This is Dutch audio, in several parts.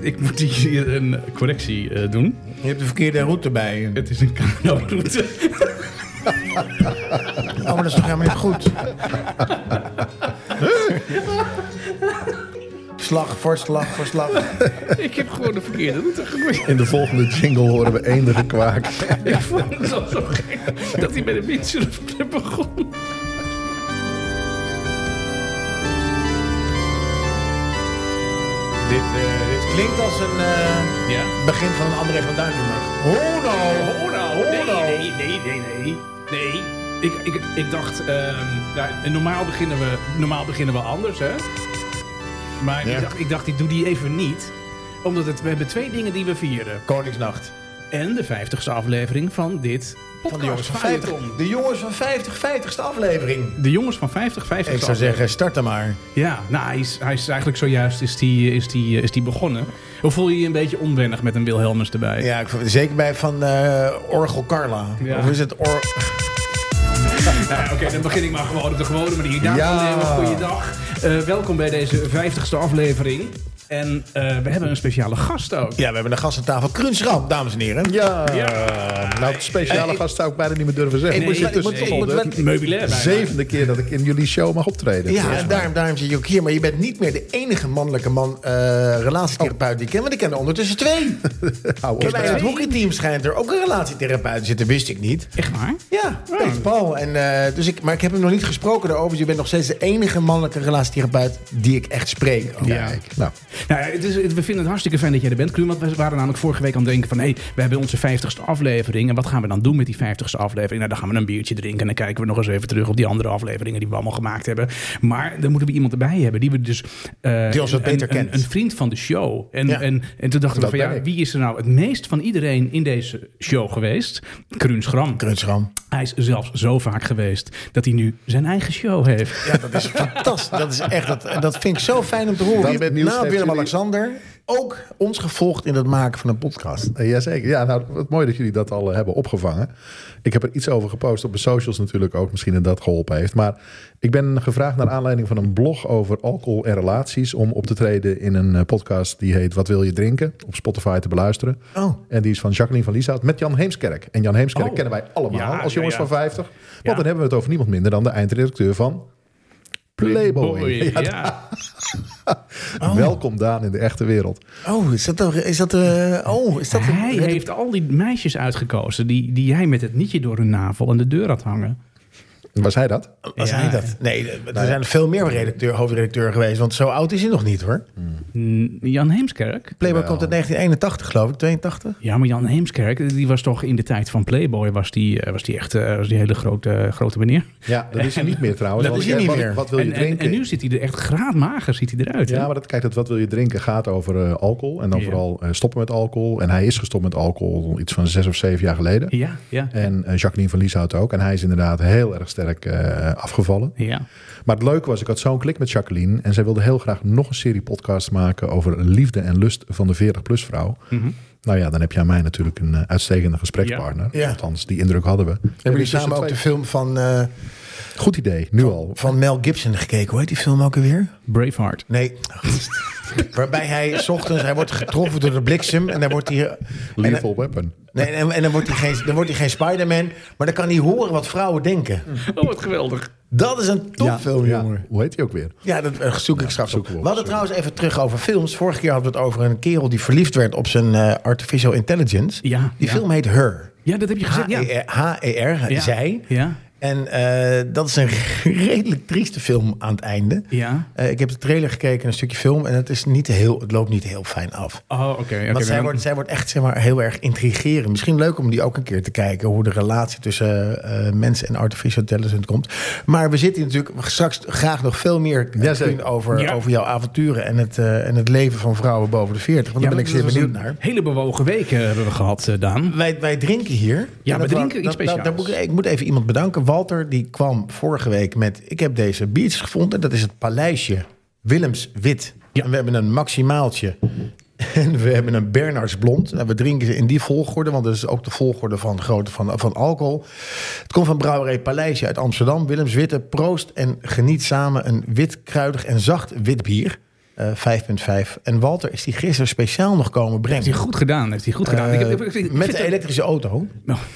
ik moet hier een correctie eh, doen. Je hebt de verkeerde route bij. Het is een kanotroute. Oh, maar dat is toch helemaal niet goed? slag voor slag voor slag. ik heb gewoon de verkeerde route gegooid. In de volgende jingle horen we eenden gekwaak. ik vond het al zo gek dat hij bij de Windsurf Club begon. Dit, eh, dit klinkt als een eh, Ja. begin van een André van Duin nummer. Oh no! Oh nou, nee, nee, nee, nee, nee. Nee. Ik, ik, ik dacht, ehm, ja, normaal, beginnen we, normaal beginnen we anders, hè? Maar Ja. ik, dacht, ik dacht, ik doe die even niet. Omdat het, we hebben twee dingen die we vieren. Koningsnacht. En de 50ste aflevering van dit Van de jongens van podcast 50. Feuilleton. De jongens van 50, 50ste aflevering. De jongens van 50, 50. Ik zou zeggen, start er maar. Ja, nou, hij is, hij is eigenlijk zojuist is die, is, die, is die begonnen. Hoe voel je je een beetje onwennig met een Wilhelmus erbij? Ja, ik vond- zeker bij van eh, Orgel Carla. Ja. Of is het Or... Nou, Oké, dan begin ik maar gewoon op de gewone manier. Dames en Ja. heren, goeiedag. Eh, welkom bij deze 50ste aflevering. En eh, we hebben een speciale gast ook. Ja, we hebben een gast aan tafel. Krunsramp, dames en heren. Ja, Ja. nou, het speciale Eh, ik- gast zou ik bijna niet meer durven zeggen. Ik Het moet- is ik moet- intussen ik al moet de wel- Meubilair bijna. zevende keer dat ik in jullie show mag optreden. Ja, en daarom, daarom zit je ook hier. Maar je bent niet meer de enige mannelijke man eh, relatietherapeut die ik ken. Want ik ken er ondertussen twee. Hou op. En bij het hockeyteam schijnt er ook een relatietherapeut te zitten. Wist ik niet. Echt waar? Ja, Peter Paul. En, eh, dus ik, maar ik heb hem nog niet gesproken daarover. Dus je bent nog steeds de enige mannelijke relatietherapeut die ik echt spreek. Ja. Kijk, nou, Nou, ja, het is, het- we vinden het hartstikke fijn dat jij er bent, Kruun. Want we waren namelijk vorige week aan het denken van... hé, hey, we hebben onze 50ste aflevering. En wat gaan we dan doen met die 50ste aflevering? Nou, dan gaan we een biertje drinken. En dan kijken we nog eens even terug op die andere afleveringen... die we allemaal gemaakt hebben. Maar dan moeten we iemand erbij hebben die we dus... eh, Die ons wat een- beter een, kent. Een, vriend van de show. En, Ja. en, en toen dachten we Dat van... ja, ben ik. wie is er nou het meest van iedereen in deze show geweest? Kruun Schram. Krunschram. Hij is zelfs zo vaak geweest... dat hij nu zijn eigen show heeft. Ja, dat is fantastisch. Dat, is echt, dat, dat vind ik zo fijn om te horen. Dat Je hebt met nieuws na heeft Willem-Alexander ook ons gevolgd in het maken van een podcast. eh, jazeker. Ja, nou, wat mooi dat jullie dat al eh, hebben opgevangen. Ik heb er iets over gepost op mijn socials natuurlijk ook. Misschien dat dat geholpen heeft. Maar ik ben gevraagd naar aanleiding van een blog over alcohol en relaties... om op te treden in een eh, podcast die heet Wat wil je drinken? Op Spotify te beluisteren. Oh. En die is van Jacqueline van Lieshout met Jan Heemskerk. En Jan Heemskerk Oh. kennen wij allemaal Ja, als ja, jongens ja. van 50. Want Ja. dan hebben we het over niemand minder dan de eindredacteur van... Playboy. Ja, ja. Oh. Welkom Daan in de echte wereld. Oh, is dat... dan- Is dat eh, oh, is dat... Hij heeft al die meisjes uitgekozen die, die hij met het nietje door hun navel aan de deur had hangen. Was hij dat? Oh, Was Ja, hij dat? ja. Nee, er zijn er veel meer redacteur, hoofdredacteur geweest. Want zo oud is hij nog niet, hoor. N- Jan Heemskerk? Playboy Wel. komt uit 1981, geloof ik. 82? Ja, maar Jan Heemskerk, die was toch in de tijd van Playboy, was die, eh, was die echt eh, was die hele grote, grote meneer. Ja, dat is hij niet meer trouwens. Dat Want, is hij eh, niet wat- meer. Wat wil je en, en, drinken? en nu ziet hij er echt graadmager ziet hij eruit. hè? Ja, maar dat, kijk, dat wat wil je drinken gaat over eh, alcohol. En dan Ja. vooral eh, stoppen met alcohol. En hij is gestopt met alcohol iets van zes of zeven jaar geleden. ja, ja. En eh, Jacqueline van Lieshout ook. En hij is inderdaad heel erg sterk eh, afgevallen. ja. Maar het leuke was, ik had zo'n klik met Jacqueline. En zij wilde heel graag nog een serie podcast maken over liefde en lust van de 40-plus vrouw. Mhm. Nou ja, dan heb je aan mij natuurlijk een eh, uitstekende gesprekspartner. Ja. Ja. Althans, die indruk hadden we. Hebben jullie Dus samen ook het de film van, eh, twee- Goed idee, nu al. van Mel Gibson gekeken? Hoe heet die film ook alweer? Braveheart. Nee. Waarbij hij 's ochtends... Hij wordt getroffen door de bliksem. En dan wordt hij... en eh, dan- Lethal Weapon. Nee, en, en dan wordt hij geen, dan wordt hij geen Spider-Man. Maar dan kan hij horen wat vrouwen denken. Oh, wat geweldig. Dat is een topfilm, ja. jongen. Hoe heet die ook weer? Ja, dat eh, zoek ik straks op. zoeken We we op, hadden trouwens even terug over films. Vorige keer hadden we het over een kerel die verliefd werd op zijn eh, artificial intelligence. Ja, die ja. film heet Her. E Ja, dat heb je gezegd. Ja. H-E-R, H-E-R, Ja. Ah, eh, zij. Ja. En eh, dat is een redelijk trieste film aan het einde. Ja. Eh, ik heb de trailer gekeken, een stukje film. En het, is niet heel, het loopt niet heel fijn af. Oh, oké. oké, Want zij dan- wordt, zij wordt echt zeg maar, heel erg intrigerend. Misschien leuk om die ook een keer te kijken. Hoe de relatie tussen eh mensen en artificial intelligence komt. Maar we zitten hier natuurlijk straks graag nog veel meer eh, Jazeker. Koen, over, Ja. over jouw avonturen. En het, eh, en het leven van vrouwen boven de 40. Want Ja, daar ben ik dat zeer was benieuwd een naar. Hele bewogen weken hebben we gehad, eh, Daan. Wij, wij drinken hier. we En dat drinken wou- iets dat- dat- daar speciaals. moet ik, ik moet even iemand bedanken. Walter, die kwam vorige week met... Ik heb deze biertjes gevonden. Dat is het Paleisje Willems Wit. Ja. En we hebben een Maximaaltje. En we hebben een Bernards Blond. En we drinken ze in die volgorde. Want dat is ook de volgorde van, grootte van, van alcohol. Het komt van brouwerij Paleisje uit Amsterdam. Willems Witte, proost en geniet samen een wit, kruidig en zacht wit bier. eh, 5.5. En Walter is die gisteren speciaal nog komen brengen. Heeft hij goed gedaan, heeft hij goed gedaan. Eh, Ik heb- ik- ik- ik met vind de dat- elektrische auto.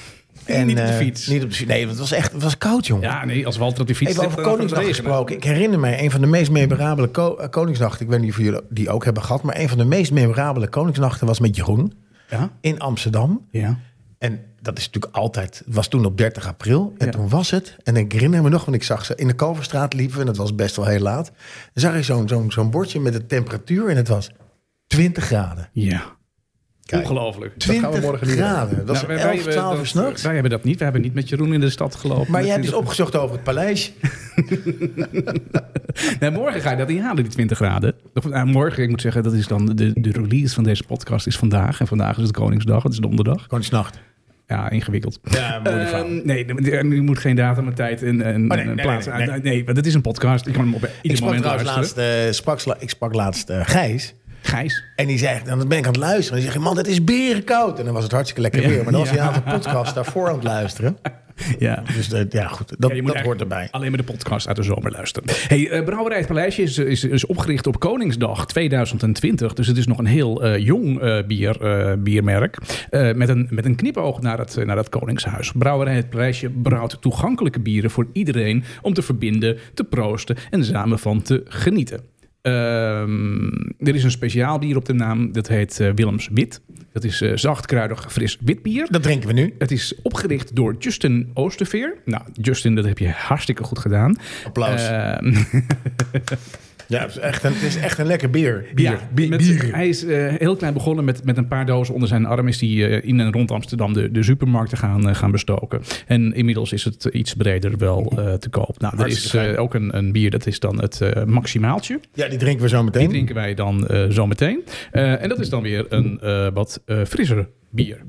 Nou, niet op de eh, fiets. niet op de fiets. Nee, want het was echt het was koud, jongen. Ja, nee, als Walter op die fiets Even zit, over dan gaat het Koningsdag regenen. gesproken. Ik herinner mij een van de meest memorabele ko- eh, Koningsnachten. Ik weet niet of jullie die ook hebben gehad. Maar een van de meest memorabele Koningsnachten was met Jeroen Ja? in Amsterdam. Ja. En dat is natuurlijk altijd, het was toen op 30 april. En Ja. toen was het, en ik herinner me nog, want ik zag ze in de Kalverstraat liepen we en het was best wel heel laat. Dan zag ik zo'n zo'n zo'n bordje met de temperatuur en het was 20 graden. Ja. Kijk. Ongelooflijk. 20 morgen niet doen. graden. Dat was Nou, wij- 11, wij- 12 dat- uur s'nachts. Wij hebben dat niet. We hebben niet met Jeroen in de stad gelopen. Met Maar jij hebt dus twintig- opgezocht over het paleis. dus Nee, morgen ga je dat niet halen, die 20 graden. Of, nou, morgen, ik moet zeggen, dat is dan de, de release van deze podcast is vandaag. En vandaag is het Koningsdag, het is donderdag. Koningsnacht. Ja, ingewikkeld. Ja, moeilijk verhaal. Ehm, nee, je moet geen datum en tijd en, en, nee, en nee, plaats nee, aan. Nee, nee. want het is een podcast. Ik kan hem op Ik ieder sprak moment trouwens luisteren. laatst, eh, sprak sla- ik sprak laatst eh, Gijs. Gijs. En die zei, dan ben ik aan het luisteren. En die zegt, man, het is berenkoud. En dan was het hartstikke lekker Ja. weer. Maar dan was hij Ja. aan de podcast daarvoor aan het luisteren. Ja. Dus eh, ja, goed, dat, Ja, je moet dat hoort eigenlijk erbij. Alleen maar de podcast uit de zomer luisteren. Hey, eh, Brouwerij het Paleisje is, is, is opgericht op Koningsdag 2020. Dus het is nog een heel eh, jong eh, bier, eh, biermerk. Eh, met, een, met een knipoog naar het, eh, naar het Koningshuis. Brouwerij het Paleisje brouwt toegankelijke bieren voor iedereen. Om te verbinden, te proosten en samen van te genieten. Ehm, er is een speciaal bier op de naam. Dat heet eh, Willems Wit. Dat is eh, zacht, kruidig, fris wit bier. Dat drinken we nu. Het is opgericht door Justin Oosterveer. Nou, Justin, dat heb je hartstikke goed gedaan. Applaus. Ehm, Ja, het is echt een, het is echt een lekker bier. Bier. ja, bier. met- bier. Hij is eh, heel klein begonnen met, met een paar dozen onder zijn arm. Is hij eh, in en rond Amsterdam de, de supermarkten gaan, eh, gaan bestoken. En inmiddels is het iets breder wel eh, te koop. Nou, er is Hartstikke eh, fijn. ook een, een bier, dat is dan het eh, Maximaaltje. Ja, die drinken we zo meteen. Die drinken wij dan eh zo meteen. Eh, en dat is dan weer een eh, wat eh frisser bier.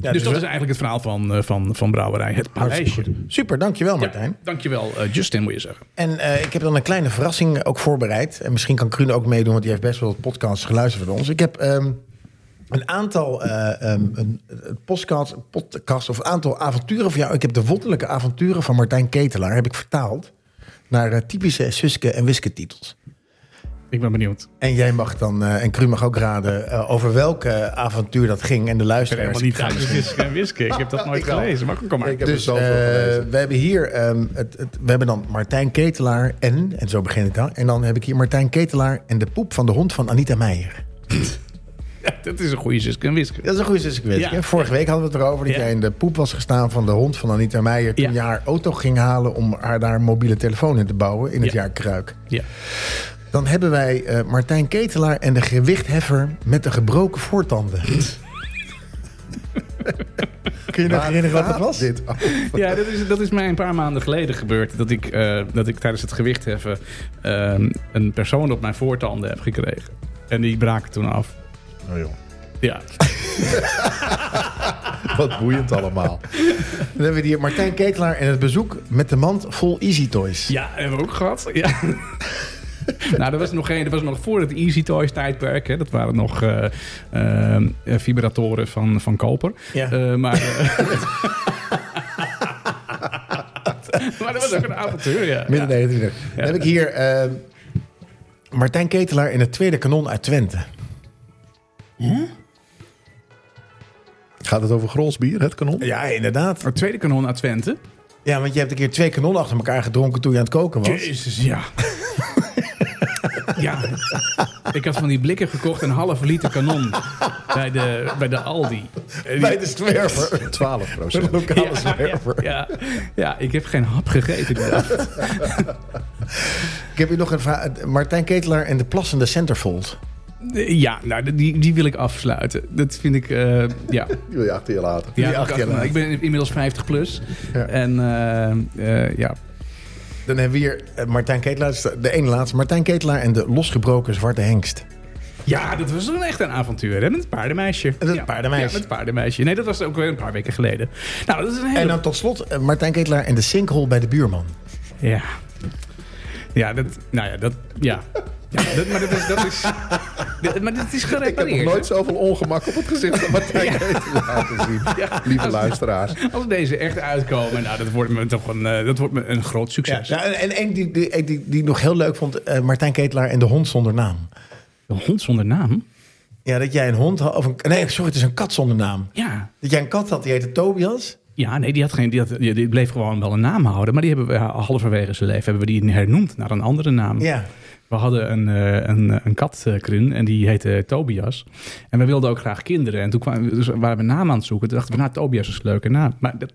ja, dus dat we- is eigenlijk het verhaal van, eh, van, van Brouwerij Het hartstikke Paleisje. goed. Super, dankjewel Martijn. Ja, dankjewel, eh, Justin, moet je zeggen. En eh, ik heb dan een kleine verrassing ook voorbereid. En misschien kan Kruun ook meedoen, want die heeft best wel wat podcasts geluisterd van ons. Ik heb ehm, een aantal eh, ehm, een, een podcast, podcast of een aantal avonturen van jou. Ik heb de wonderlijke avonturen van Martijn Ketelaar heb ik vertaald naar eh, typische Suske en Wiske titels. Ik ben benieuwd. En jij mag dan, eh, en Kruun mag ook raden eh, over welke avontuur dat ging. En de Ik ben luisteraars. helemaal niet uit de Wiske en Wiske. Ik heb dat nooit Ik wel. gelezen. Maar kom maar. Ik heb Dus er zoveel eh, gelezen. we hebben hier ehm, het, het, we hebben dan Martijn Ketelaar en, en zo begin ik dan. En dan heb ik hier Martijn Ketelaar en de poep van de hond van Anita Meijer. Ja, dat is een goede Wiske en Wiske. Dat is een goede succes. Ja. hè? Vorige week hadden we het erover dat Ja. jij in de poep was gestaan van de hond van Anita Meijer. Toen Ja. je haar auto ging halen om haar daar een mobiele telefoon in te bouwen in het Ja. jaar Kruik. Ja. Dan hebben wij eh, Martijn Ketelaar en de gewichtheffer met de gebroken voortanden. Kun je nog herinneren wat dat was? Dit over? Ja, dat is, dat is mij een paar maanden geleden gebeurd. Dat ik, eh, dat ik tijdens het gewichtheffen eh, een persoon op mijn voortanden heb gekregen. En die braken toen af. Oh, joh. Ja. Wat boeiend allemaal. Dan hebben we hier Martijn Ketelaar en het bezoek met de mand vol Easy Toys. Ja, hebben we ook gehad. Ja. nou, dat was, nog geen, dat was nog voor het Easy Toys tijdperk. Hè. Dat waren nog eh, eh, vibratoren van, van koper. Ja. Eh, maar, eh, maar dat was ook een avontuur, ja. Midden 29. Dan heb ik hier eh, ehm, Martijn Ketelaar in het tweede kanon uit Twente. Gaat het over Grolsbier, het kanon? Ja, inderdaad. Het tweede kanon uit Twente. Ja, want je hebt een keer twee kanonnen achter elkaar gedronken toen je aan het koken was. Jezus, ja. ja. Ik had van die blikken gekocht, een half liter kanon. Bij de, bij de Aldi. Bij de zwerver. 12 De procent. lokale Ja, zwerver. ja, ja, ik heb geen hap gegeten die dag. Ik heb hier nog een vraag. Martijn Ketelaar en de plassende centerfold. Ja, nou, die, die wil ik afsluiten. Dat vind ik, eh, ja. Die wil je achter je laten. ja acht ik- jaar later. ik ben inmiddels 50 plus. Ja. En eh, eh, ja, Dan hebben we hier eh, Martijn Ketelaar, dat is de ene laatste. Martijn Ketelaar en de losgebroken zwarte hengst. Ja, dat was toen echt een avontuur, hè? Met het paardenmeisje. Met het Ja. paardenmeisje. Ja, met het paardenmeisje. Nee, dat was ook weer een paar weken geleden. Nou, dat is een hele... En dan tot slot eh, Martijn Ketelaar en de sinkhole bij de buurman. Ja. Ja, dat, nou ja, dat, ja. ja dat, maar dat is, dat is, dit- maar dit is Ik heb gerepareerd. nog nooit zoveel ongemak op het gezicht van Ja. Martijn Eten laten zien. Ja. Lieve luisteraars. Als deze echt uitkomen, nou, dat wordt me toch een, eh, dat wordt me een groot Ja, succes. ja, en en één die, die, die, die ik nog heel leuk vond, eh, Martijn Ketelaar en de hond zonder naam. Een hond zonder naam? Ja, dat jij een hond had, of een, nee, sorry, het is een kat zonder naam. Ja. Dat jij een kat had, die heette Tobias. Ja, nee, die, had geen, die, had, die die bleef gewoon wel een naam houden. Maar die hebben we eh, halverwege zijn leven hebben we die hernoemd naar een andere naam. Ja. We hadden een, eh, een, eh, een kat, eh, Krun, en die heette Tobias. En we wilden ook graag kinderen. En toen kwamen, dus waren we een naam aan het zoeken. Toen dachten we, nou, Tobias is een leuke naam. Maar dat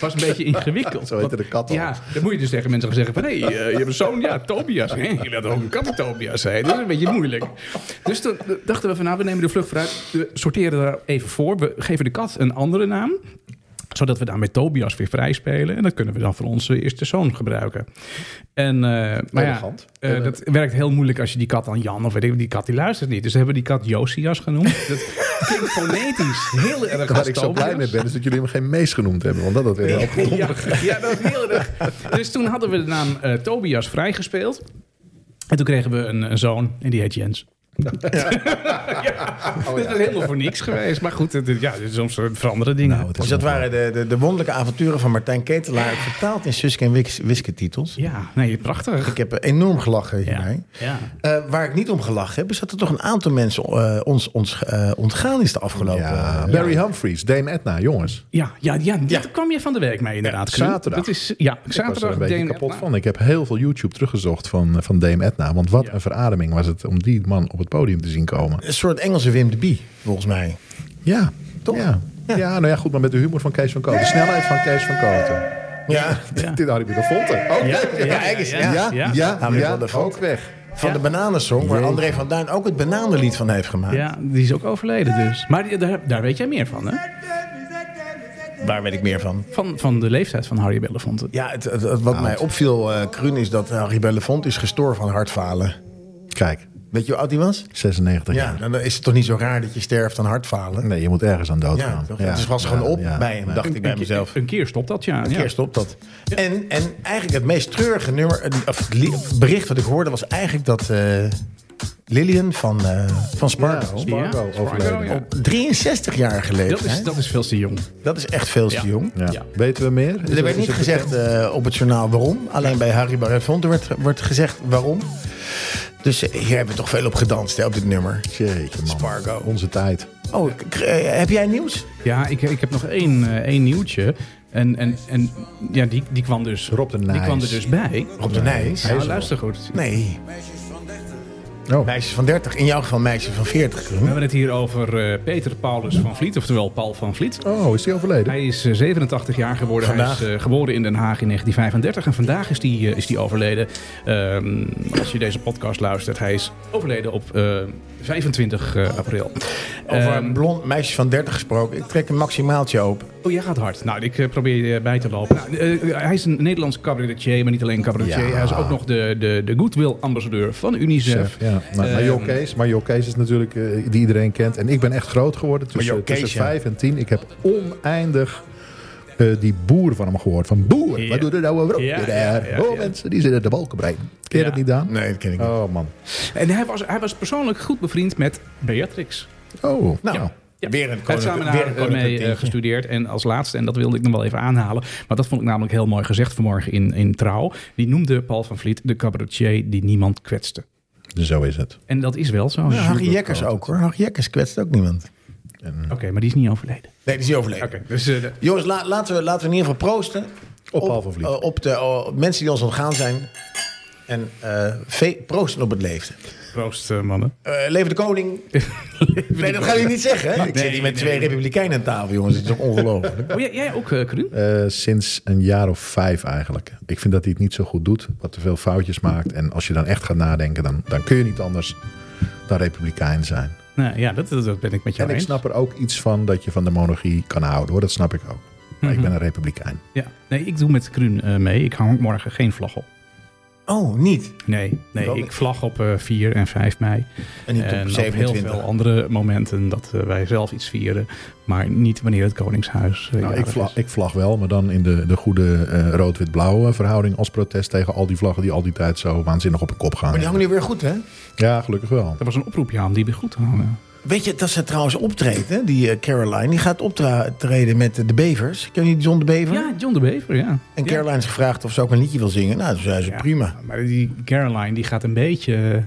was een beetje ingewikkeld. Zo heette de kat al. Ja, dan moet je dus tegen mensen gaan zeggen van... hé, eh, je hebt een zoon, ja, Tobias. Hé, je laat ook een kat die Tobias zijn. Dat is een beetje moeilijk. Dus toen dachten we van, nou, we nemen de vlucht vooruit. We sorteren daar even voor. We geven de kat een andere naam zodat we daarmee Tobias weer vrij spelen. En dat kunnen we dan voor onze eerste zoon gebruiken. En, eh, maar ja, Elegant. eh, dat werkt heel moeilijk als je die kat aan Jan of weet ik, die kat die luistert niet. Dus we hebben die kat Josias genoemd. Dat klinkt fonetisch heel erg als Waar ik zo blij Tobias. mee ben, is dat jullie hem geen mees genoemd hebben. Want dat had weer wel geholpen. Ja, ja, dat is heel erg. Dus toen hadden we de naam eh, Tobias vrijgespeeld. En toen kregen we een, een zoon en die heet Jens. Ja. Oh, Dus dat is helemaal voor niks geweest. Maar goed, het, ja, soms veranderen dingen. Nou, het is Dus dat nog- waren de, de, de wonderlijke avonturen van Martijn Ketelaar, vertaald in Suske en Wis- Wiske titels. Ja, nee, prachtig. Ik heb enorm gelachen hierbij. Ja. ja. Eh, waar ik niet om gelachen heb, is dat er toch een aantal mensen eh, ons, ons eh, ontgaan is de afgelopen. Ja, eh, Barry Humphries, Dame Edna, jongens. Ja, ja, ja, daar Ja. kwam je van de week mee inderdaad. Ja, Cru. zaterdag. Dat is, ja, Ik was er zaterdag een beetje Deen- kapot van. Ik heb heel veel YouTube teruggezocht van, eh, van Dame Edna. Want wat Ja. een verademing was het om die man op het podium te zien komen. Een soort Engelse Wim de Bie, volgens mij. Ja, toch? Ja. Ja. nou ja, goed, maar met de humor van Kees van Koten. De snelheid van Kees van Koten. Ja. Dit- Dit had ik weer gevonden. Oké. Ja, ja, Ja, ja, ja, ja, ja. ja, maar ja, van de ook weg. Van Ja. de Bananensong, waar André van Duin ook het bananenlied van heeft gemaakt. Ja, die is ook overleden dus. Maar die- daar, daar weet jij meer van, hè? Daar weet ik meer van. Van, van de leeftijd van Harry Belafonte. Ja, het, het- het- wat mij opviel, eh Kruun, is dat Harry Bellefond is gestorven aan hartfalen. Kijk, Weet je hoe oud hij was? 96 Ja, jaar. dan is het toch niet zo raar dat je sterft aan hartfalen? Nee, je moet ergens aan dood Ja, gaan. toch? het was gewoon op bij hem, dacht ik bij Een keer- mezelf. Een keer stopt dat, ja. Een keer stopt dat. En, en eigenlijk het meest treurige nummer, eh, of het li- of het bericht dat ik hoorde was eigenlijk dat eh, Lillian van, eh, van Spargo... Ja. Spargo overleden. ja. op 63 jaar geleden. Dat, is, dat is veel te jong. dat is echt veel te Ja. jong. Ja. Ja. Weten we meer? Is Er werd niet is bekend? gezegd eh, op het journaal waarom. Alleen bij Harry Barrett-Fonte werd, werd gezegd waarom. Dus eh, hier hebben we toch veel op gedanst, hè, op dit nummer. Jeetje, man. Spargo. Onze tijd. Oh, k- k- eh, heb jij nieuws? Ja, ik, ik heb nog één, eh, één nieuwtje. En, en, en ja, die, die kwam dus... Rob de Die Nijs. kwam er dus bij. Rob de Nijs? Ja, Nou, luister goed. Nee, Oh. meisjes van 30. In jouw geval meisjes van 40. We hebben het hier over eh, Peter Paulus van Vliet, oftewel Paul van Vliet. oh, is die overleden? Hij is eh, 87 jaar geworden. Vandaag. Hij is eh, geboren in Den Haag in 1935 en vandaag is die, eh, is die overleden. Ehm, als je deze podcast luistert, hij is overleden op eh, 25 eh, april. Over Ehm, een blond meisje van 30 gesproken. Ik trek een maximaaltje open. Oh, jij gaat hard. Nou, ik eh, probeer je bij te lopen. Nou, eh, hij is een Nederlands cabaretier, maar niet alleen cabaretier. Ja. Hij is ook nog de, de, de goodwill-ambassadeur van UNICEF. Chef, ja. Nou, Ehm, Mario Kees. Mario Kees is natuurlijk eh, die iedereen kent. En ik ben echt groot geworden Mario tussen, Kees, tussen ja. 5 en 10. Ik heb oneindig eh, die boer van hem gehoord. Van boer, Ja. wat doet er nou over op? Ja, je ja, daar? ja, oh, ja. mensen, die zitten te balkenbrein. Ken je Ja. dat niet, Daan? Nee, dat ken ik niet. Oh, man. En hij was, hij was persoonlijk goed bevriend met Beatrix. Oh, nou. Nou, Ja. weer een Hij heeft koninklijk samen weer een daar koninklijk mee eh, tintje. gestudeerd. En als laatste, en dat wilde ik nog wel even aanhalen. Maar dat vond ik namelijk heel mooi gezegd vanmorgen in, in Trouw. Die noemde Paul van Vliet de cabaretier die niemand kwetste. Dus Zo is het. En dat is wel zo. Ja, Harry Oké, Jekkers ook hoor. Harry Jekkers kwetst ook niemand. Nee, maar die is niet overleden. die is niet overleden. Oké, dus eh, Jongens, la- laten, we, laten we in ieder geval proosten. Op Paul van Vliet. eh, op de eh, mensen die ons ontgaan zijn. En eh, ve- proosten op het leven. proost, eh, mannen. Eh leven de koning. nee, dat gaan jullie niet zeggen. Hè? Ik zit hier met nee, twee republikeinen aan tafel, jongens. Het is toch ongelooflijk. Oh, jij, jij ook, eh Krun? Eh, sinds een jaar of vijf eigenlijk. Ik vind dat hij het niet zo goed doet. Wat te veel foutjes maakt. En als je dan echt gaat nadenken, dan, dan kun je niet anders dan republikein zijn. Nou ja, dat, dat, dat ben ik met jou En ik eens. snap er ook iets van dat je van de monarchie kan houden hoor. Dat snap ik ook. Mhm. Maar ik ben een republikein. Ja. Nee, ik doe met Krun eh, mee. Ik hang morgen geen vlag op. Oh, niet. Nee, nee Dan- ik vlag op eh, 4 en 5 mei. En niet op En op heel 27. veel andere momenten dat eh, wij zelf iets vieren. Maar niet wanneer het Koningshuis. eh, Nou, ik, jarig vlag, is. ik vlag wel, maar dan in de, de goede eh, rood-wit-blauwe verhouding als protest tegen al die vlaggen die al die tijd zo waanzinnig op hun kop gaan. Maar die hangen nu weer goed, hè? Ja, gelukkig wel. Dat was een oproep, ja, om die weer goed te houden. Weet je dat ze trouwens optreedt, hè? Die eh, Caroline. Die gaat optreden met eh, de Bevers. Ken je die John de Bever? Ja, John de Bever, ja. En Ja. Caroline is gevraagd of ze ook een liedje wil zingen. Nou, toen zei ze Ja. prima. Maar die Caroline, die gaat een beetje... eh,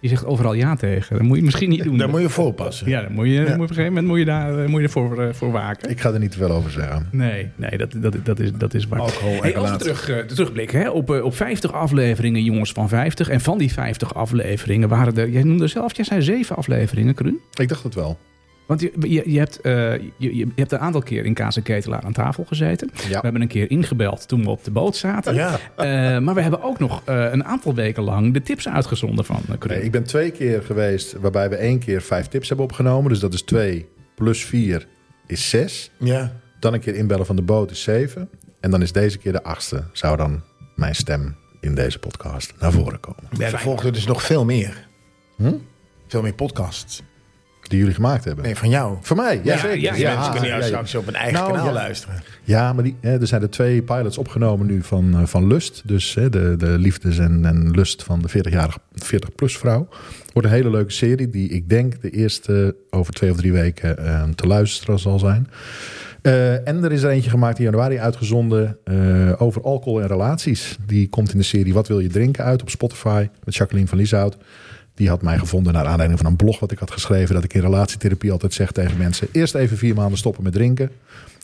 Die zegt overal ja tegen. Dat moet je misschien niet doen. Daar moet je voor oppassen. Ja, dan moet je, moet je op een gegeven moment moet je, daar, eh, moet je ervoor eh, voor waken. Ik ga er niet te veel over zeggen. Nee, nee dat, dat, dat, is, dat is waar. Alcohol en hey, als we relatie. terug, eh, terugblikken hè, op, eh, op 50 afleveringen, jongens van 50. En van die 50 afleveringen waren er... Jij noemde zelf, jij zei zeven afleveringen, Krun. Ik dacht het wel. Want je, je, je hebt, eh, je, je hebt een aantal keer in Kaas en Ketelaar aan tafel gezeten. Ja. We hebben een keer ingebeld toen we op de boot zaten. Ja. Eh, maar we hebben ook nog eh, een aantal weken lang de tips uitgezonden van eh Krun. Nee, ik ben twee keer geweest waarbij we één keer vijf tips hebben opgenomen. Dus dat is twee plus vier is zes. Ja. Dan een keer inbellen van de boot is zeven. En dan is deze keer de achtste. Zou dan mijn stem in deze podcast naar voren komen. Ja, er volgden dus nog veel meer. Veel meer podcasts. Die jullie gemaakt hebben. Nee, van jou. Voor mij, ja, ja, zeker. ja, Mensen kunnen jou ja, ja. straks op een eigen Nou, kanaal ja. luisteren. Ja, maar die, hè, er zijn er twee pilots opgenomen nu van, eh, van Lust. Dus hè, de, de liefdes en, en lust van de 40-jarige 40-plus vrouw. Wordt een hele leuke serie die ik denk de eerste over twee of drie weken eh, te luisteren zal zijn. Eh, en er is er eentje gemaakt in januari uitgezonden eh, over alcohol en relaties. Die komt in de serie Wat wil je drinken uit op Spotify met Jacqueline van Lieshout. Die had mij gevonden naar aanleiding van een blog wat ik had geschreven. Dat ik in relatietherapie altijd zeg tegen mensen: eerst even vier maanden stoppen met drinken.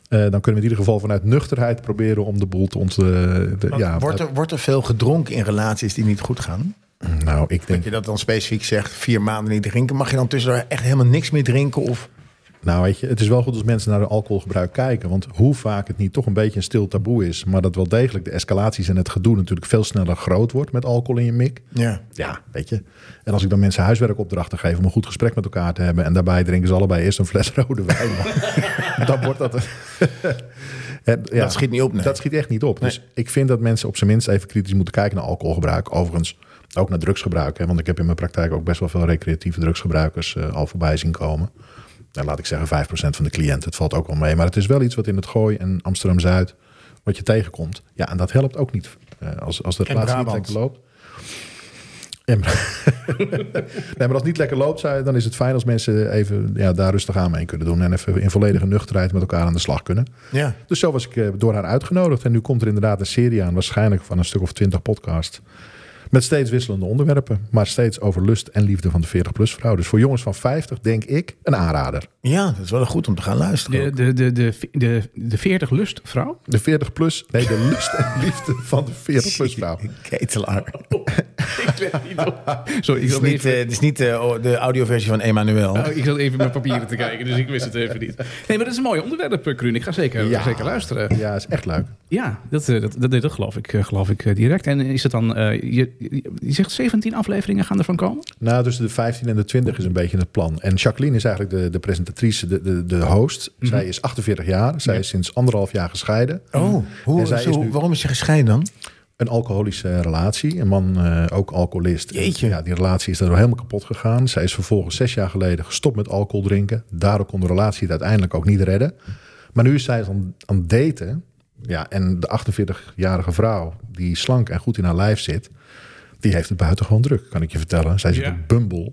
Eh, dan kunnen we in ieder geval vanuit nuchterheid proberen om de boel te ont. eh, de- Want ja, wordt, er, wordt er veel gedronken in relaties die niet goed gaan? nou, ik denk. Dat je dat dan specifiek zegt, vier maanden niet drinken. Mag je dan tussendoor echt helemaal niks meer drinken? Of Nou, weet je, het is wel goed als mensen naar hun alcoholgebruik kijken. Want hoe vaak het niet toch een beetje een stil taboe is. Maar dat wel degelijk de escalaties en het gedoe natuurlijk veel sneller groot wordt met alcohol in je mik. ja. Ja, weet je. En als ik dan mensen huiswerkopdrachten geef om een goed gesprek met elkaar te hebben. en daarbij drinken ze allebei eerst een fles rode wijn. dan wordt dat. een- En, ja, Dat schiet niet op, nee. Dat schiet echt niet op. Dus ik vind dat mensen op zijn minst even kritisch moeten kijken naar alcoholgebruik. Overigens ook naar drugsgebruik. Hè? Want ik heb in mijn praktijk ook best wel veel recreatieve drugsgebruikers eh, al voorbij zien komen. Nou, laat ik zeggen 5% van de cliënten. Het valt ook wel mee. Maar het is wel iets wat in het Gooi en Amsterdam-Zuid. wat je tegenkomt. Ja, en dat helpt ook niet. eh, als, als de En relatie niet Brabant. lekker loopt. En- nee, maar als het niet lekker loopt, zou je- dan is het fijn als mensen even ja, daar rustig aan mee kunnen doen. En even in volledige nuchterheid met elkaar aan de slag kunnen. ja. Dus zo was ik eh, door haar uitgenodigd. En nu komt er inderdaad een serie aan, waarschijnlijk van een stuk of twintig podcast. Met steeds wisselende onderwerpen, maar steeds over lust en liefde van de 40-plus vrouw. Dus voor jongens van 50, denk ik, een aanrader. Ja, dat is wel goed om te gaan luisteren. De, de, de, de, de, de 40 lustvrouw? De 40-plus, nee, de lust en liefde van de 40-plus vrouw. Ketelaar. ik weet niet of... Sorry, ik Het is zat niet, even, eh, het is niet eh, o- de audioversie van Emmanuel. oh, ik zat even mijn papieren te kijken, dus ik wist het even niet. Nee, maar dat is een mooi onderwerp, eh, Kruun. Ik ga zeker, Ja. zeker luisteren. Ja, is echt leuk. Ja, dat, eh, dat, dat, dat geloof ik, eh, geloof ik eh, direct. En is het dan, eh, je, je- je zegt 17 afleveringen gaan ervan komen? Nou, tussen de 15 en de 20 is een beetje het plan. En Jacqueline is eigenlijk de, de presentatrice, de, de, de host. Zij is 48 jaar. Zij is sinds anderhalf jaar gescheiden. Oh, hoe, En zij zo- is nu- waarom is ze gescheiden dan? Een alcoholische relatie. Een man, eh, ook alcoholist. Jeetje. Ja, die relatie is daardoor helemaal kapot gegaan. Zij is vervolgens zes jaar geleden gestopt met alcohol drinken. Daardoor kon de relatie het uiteindelijk ook niet redden. Maar nu is zij aan, aan het daten. Ja, en de 48-jarige vrouw, die slank en goed in haar lijf zit... die heeft het buitengewoon druk, kan ik je vertellen. Zij zit Ja. op Bumble.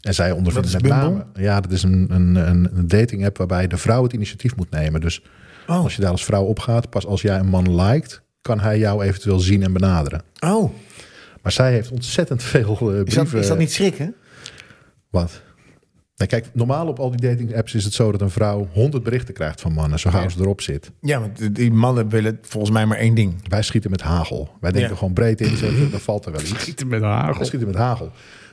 En zij ondervindt Wat is met Bumble? name... Ja, dat is een, een, een, een dating app waarbij de vrouw het initiatief moet nemen. Dus Oh. als je daar als vrouw op gaat, pas als jij een man liked... kan hij jou eventueel zien en benaderen. Oh, Maar zij heeft ontzettend veel eh, brieven. is dat, is dat niet schrikken? Wat? Nou, kijk, normaal op al die dating apps is het zo dat een vrouw 100 berichten krijgt van mannen, zo gauw ze erop zit. Ja, want die- die mannen willen volgens mij maar één ding. Wij schieten met hagel. Wij denken Ja. gewoon breed inzetten, dan valt er wel iets. Schieten met haar. Wij schieten met hagel.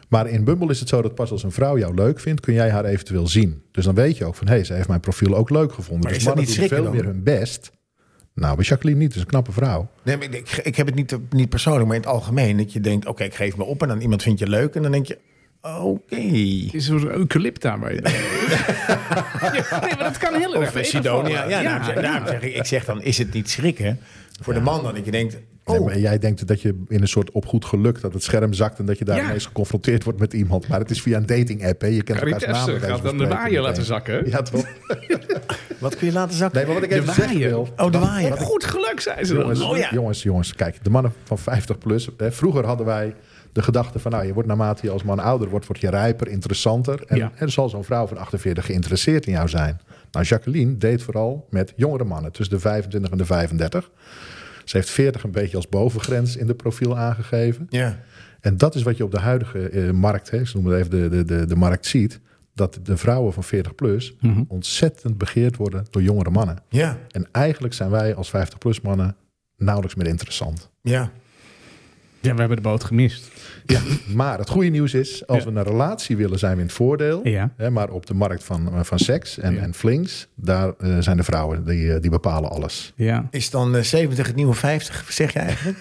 Maar in Bumble is het zo dat pas als een vrouw jou leuk vindt, kun jij haar eventueel zien. Dus dan weet je ook van, hé, hey, ze heeft mijn profiel ook leuk gevonden. Maar dus is dat mannen niet doen veel schrikken meer hun best. Nou, bij Jacqueline niet, het is een knappe vrouw. Nee, maar ik, ik heb het niet, niet persoonlijk, maar in het algemeen. Dat je denkt, oké, ik geef me op en dan iemand vindt je leuk. En dan denk je, Oké. Het is zo'n eucalypta waar je dan- Ja, nee, maar dat kan heel erg. Of eh, even Sidonia. vallen. Ja, ja, nou, daarom zeg- daarom zeg ik, ik zeg dan, is het niet schrikken voor de man dan? Dat je denkt, Nee, oh, maar jij denkt dat je in een soort op goed geluk dat het scherm zakt en dat je daar Ja. ineens geconfronteerd wordt met iemand. Maar het is via een dating app. Hè. Je kent elkaars namen. Caritesse bij gaat dan wijze van de spreken waaier laten meteen. zakken. Ja, toch? wat kun je laten zakken? Nee, maar wat ik De even zeggen waaier. wil. oh, de waaier. Op goed geluk zijn ze Jongens, dan. Oh ja. jongens, jongens, kijk, de mannen van 50 plus. Hè, vroeger hadden wij de gedachte van, nou, je wordt naarmate je als man ouder wordt, word je rijper, interessanter. En, Ja. en zal zo'n vrouw van 48 geïnteresseerd in jou zijn. Nou, Jacqueline deed vooral met jongere mannen tussen de 25 en de 35. Ze heeft 40 een beetje als bovengrens in de profiel aangegeven. Ja. En dat is wat je op de huidige eh, markt, hè, ze noemen het even de, de, de, de markt, ziet. Dat de vrouwen van 40 plus Mhm. ontzettend begeerd worden door jongere mannen. Ja, En eigenlijk zijn wij als 50-plus mannen nauwelijks meer interessant. ja. Ja, we hebben de boot gemist. Ja. Maar het goede nieuws is, als Ja. we een relatie willen, zijn we in het voordeel. Ja. Hè, maar op de markt van, eh, van seks en, Ja. en flings, daar eh, zijn de vrouwen die, eh, die bepalen alles. Ja. Is dan eh, 70 het nieuwe 50, zeg je eigenlijk?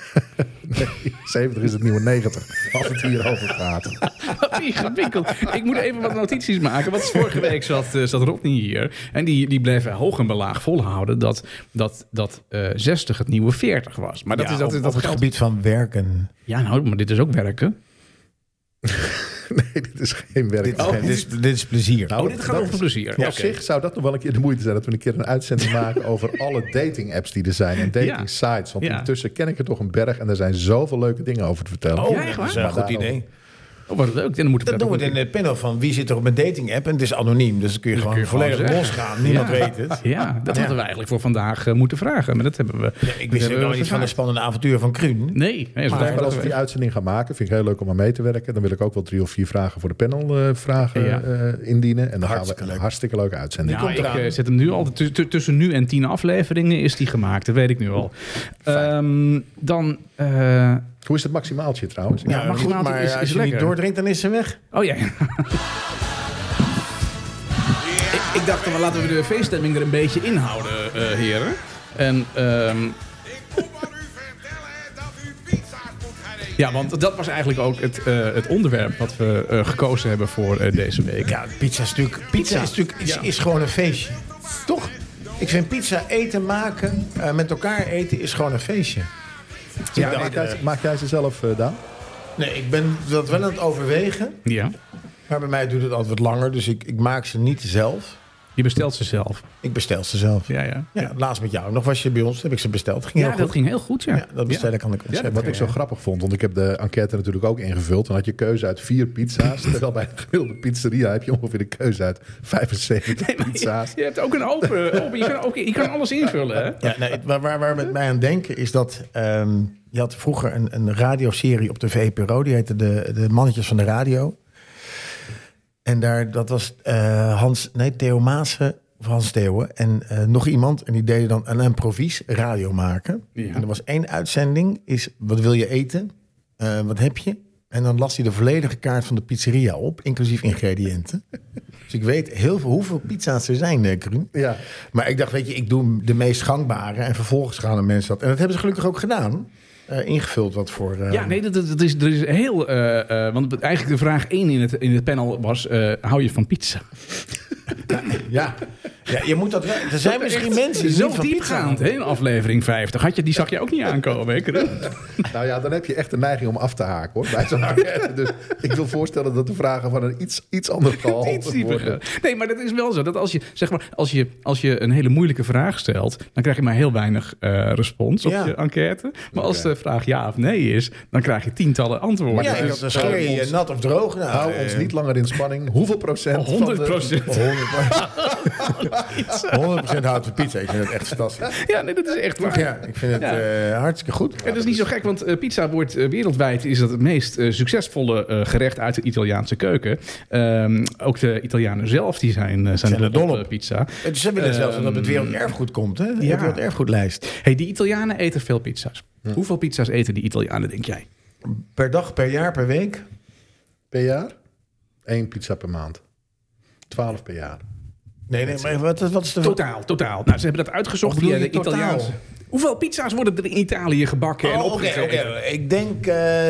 70 is het nieuwe 90, als het hierover gaat. Wat ingewikkeld. Ik moet even wat notities maken. Want vorige week zat, eh, zat Rodney hier. En die, die bleef hoog en belaag volhouden dat, dat, dat eh 60 het nieuwe 40 was. Maar dat Ja, is dat, op, is- op dat het geldt- gebied van werken. Ja, nou, maar dit is ook werken. Nee, dit is geen werk. Dit, is- dit, is, dit is plezier. Nou, Oh, dit gaat dat over is- plezier. Ja, Oké. Op zich zou dat nog wel een keer de moeite zijn dat we een keer een uitzending maken over alle dating apps die er zijn en dating sites. Want Ja. intussen ken ik er toch een berg en er zijn zoveel leuke dingen over te vertellen. Oh, Ja, echt waar? dat is een Maar goed daarom- idee. Oh, wat leuk. Dan moeten we Dat doen we ook in de panel van wie zit er op een dating app. En het is anoniem, dus dan kun je gewoon kun je gewoon volledig zeggen. losgaan. Niemand Ja. weet het. Ja, dat Ja. hadden we eigenlijk voor vandaag eh, moeten vragen. Maar dat hebben we. Ja, ik wist dat ook hebben al we iets van de verzaakt. spannende avontuur van Kruun. Nee, nee dat is Maar wel als we die uitzending gaan maken, vind ik heel leuk om aan mee te werken. Dan wil ik ook wel drie of vier vragen voor de panel eh, vragen Ja. eh, indienen. En dan Hartstikke gaan we leuk. een hartstikke leuke uitzending. Nou, komt ik eraan. eh, zet hem nu al. tu- tu- tussen nu en tien afleveringen is die gemaakt. Dat weet ik nu al. Ehm, dan. eh, Hoe is het maximaaltje trouwens? Ja, maar goed, maar is- is als je lekker. niet doordringt, dan is ze weg. oh ja. ik, ik dacht, dan, laten we de feeststemming er een beetje inhouden, eh heren. En. ehm, Ik kom aan u vertellen dat u pizza's moet gaan eten. ja, want dat was eigenlijk ook het, eh, het onderwerp wat we eh, gekozen hebben voor eh, deze week. Ja, pizza is natuurlijk, pizza is, natuurlijk is, Ja. is gewoon een feestje. Toch? Ik vind pizza eten maken, eh, met elkaar eten, is gewoon een feestje. Ja, Ja, maak, ik, eh, jij, maak jij ze zelf, eh, Daan? nee, ik ben dat wel aan het overwegen. Ja. Maar bij mij duurt het altijd wat langer, dus ik, ik maak ze niet zelf. Je bestelt ze zelf. Ik bestel ze zelf. Ja. Ja, ja. laatst met jou ook nog was je bij ons, heb ik ze besteld. Ging Ja, heel dat goed. ging heel goed, ja. Ja, dat bestellen kan ik ontzettend. Wat ik zo grappig vond, want ik heb de enquête natuurlijk ook ingevuld. Dan had je keuze uit vier pizza's. terwijl bij een gemiddelde pizzeria heb je ongeveer de keuze uit 75 pizza's. Je, je hebt ook een open. open- je, kan ook, je kan alles invullen, hè? Ja, nee, waar, waar, waar we met mij aan denken is dat... ehm, je had vroeger een, een radioserie op de VPRO. Die heette de, de Mannetjes van de Radio. En daar, dat was eh, Hans... Nee, Theo Maassen of Hans Theeuwen. En eh, nog iemand. En die deden dan een improvies radio maken. Ja. En er was één uitzending. Is wat wil je eten? Eh, wat heb je? En dan las hij de volledige kaart van de pizzeria op. Inclusief ingrediënten. dus ik weet heel veel hoeveel pizza's er zijn, eh, Kruun. Ja. Maar ik dacht, weet je, ik doe de meest gangbare. En vervolgens gaan de mensen dat. En dat hebben ze gelukkig ook gedaan. Eh, ingevuld wat voor. eh, Ja, nee, dat, dat dat is, er is heel. eh, eh, want eigenlijk de vraag één in het, in het panel was: eh, hou je van pizza? ja. Ja, je moet dat wel. dus- Er zijn misschien mensen die Zo niet van pizza diepgaand, hè? In aflevering 50. Had je, die zag je ook niet aankomen, hè? Kru? Nou ja, dan heb je echt de neiging om af te haken hoor. Bij zo'n enquête. Dus ik wil voorstellen dat de vragen van een iets, iets ander Oh, Iets gehalte worden. dieper. Nee, maar dat is wel zo. Dat als je, zeg maar, als je, als je een hele moeilijke vraag stelt, dan krijg je maar heel weinig eh, respons op Ja. je enquête. Maar als de vraag ja of nee is, dan krijg je tientallen antwoorden. Ja, Dus- ik- dan scheer je je nat of droog. Nou, Hou eh, ons niet langer in spanning. Hoeveel procent? 100 Van de, procent. eh, 100% houdt van pizza. Ik vind het echt fantastisch. Ja, nee, dat is echt waar. Ja, ik vind het Ja. eh, hartstikke goed. Het is niet zo gek, want eh, pizza wordt eh, wereldwijd is dat het meest eh, succesvolle eh, gerecht uit de Italiaanse keuken. Ehm, ook de Italianen zelf die zijn, eh zijn er dol dol op op. eh, pizza. Het is hebben Dus zelfs dat het op het werelderfgoed komt, hè? De Ja. werelderfgoedlijst. Hey, die Italianen eten veel pizza's. Hoeveel pizza's eten die Italianen, denk jij? Per dag, per jaar, per week. per jaar? Eén pizza per maand. 12 per jaar. Nee, nee, maar wat, wat is de Totaal, totaal. Nou, ze hebben dat uitgezocht Of bedoel via de je totaal? Italiaanse. Hoeveel pizza's worden er in Italië gebakken en Oh, oké, opgegeten? oké. Ik denk eh,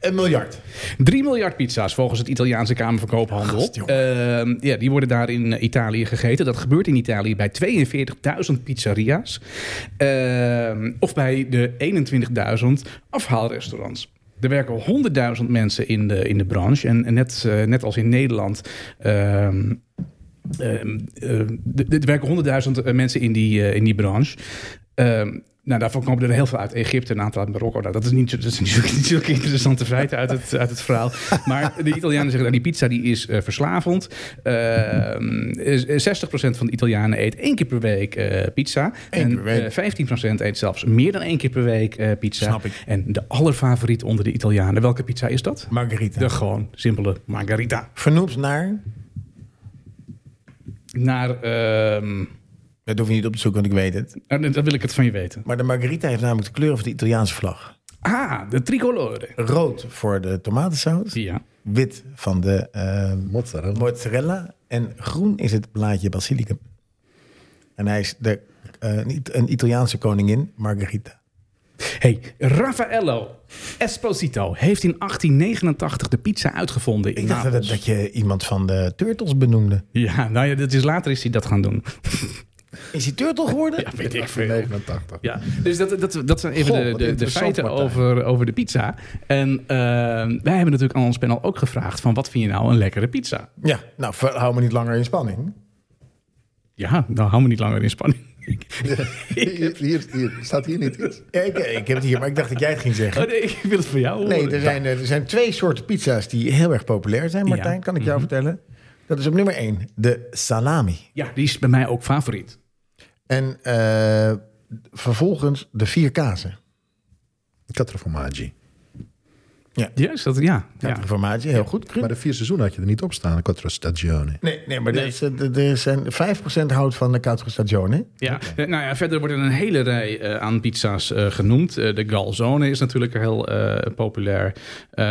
Een miljard. 3 miljard pizza's volgens het Italiaanse Kamerverkoophandel. Gast, Ehm, ja, die worden daar in eh, Italië gegeten. Dat gebeurt in Italië bij 42.000 pizzeria's. Ehm, of bij de 21.000 afhaalrestaurants. Er werken 100.000 mensen in de, in de branche. En, en net, eh, net als in Nederland. ehm, ehm, ehm, d- d- er werken honderdduizend eh, mensen in die, eh, in die branche. Ehm, nou, daarvan komen er heel veel uit Egypte en een aantal uit Marokko. Nou, dat is niet, zo- dat is niet, zo- niet zulke interessante feiten uit het, uit het verhaal. Maar de Italianen zeggen, nou, die pizza die is eh, verslavend. Ehm, is- is 60% van de Italianen eet één keer per week eh, pizza. Eén en per week. eh, 15% eet zelfs meer dan één keer per week eh, pizza. Snap ik. En de allerfavoriet onder de Italianen, welke pizza is dat? Margarita. De gewoon simpele margarita. Vernoemd naar... Naar... ehm, Dat hoef je niet op te zoeken, want ik weet het. Nou, dan wil ik het van je weten. Maar de margarita heeft namelijk de kleur van de Italiaanse vlag. Ah, de tricolore. Rood voor de tomatensaus. Ja. Wit van de ehm, Mozzarella. mozzarella. En groen is het blaadje basilicum. En hij is de, eh, niet een Italiaanse koningin, Margarita. Hey, Raffaello Esposito heeft in 1889 de pizza uitgevonden. In Ik dacht dat, Napels. dat je iemand van de Turtles benoemde. Ja, nou ja, dat is, later is hij dat gaan doen. Is hij Turtle geworden? Ja, weet ik veel. 89. Ja, dus dat, dat, dat zijn even Goh, de, wat de, de interessant, feiten Martijn. over, over de pizza. En eh, wij hebben natuurlijk aan ons panel ook gevraagd van wat vind je nou een lekkere pizza? Ja, nou, ver- hou me niet langer in spanning. Ja, nou hou me niet langer in spanning. Hier, hier, hier. Staat hier niet iets? Ja, ik, eh, ik heb het hier, maar ik dacht dat jij het ging zeggen. Oh nee, ik wil het van jou horen. Nee, er zijn, eh, er zijn twee soorten pizza's die heel erg populair zijn, Martijn, Ja. kan ik jou vertellen. Dat is op nummer één, de salami. Ja, die is bij mij ook favoriet. En eh, vervolgens de vier kazen. Quattrofomaggi. Ja, is dat, ja. Ja. ja. Informatie, heel goed. Kruun. Maar de vier seizoenen had je er niet op staan. Quattro stagioni. Nee, nee, maar Er, is, er er zijn 5% houdt van de Quattro Stagione. Ja, eh, nou ja, verder worden een hele rij eh, aan pizza's eh, genoemd. Eh, de Galzone is natuurlijk heel eh, populair. Eh,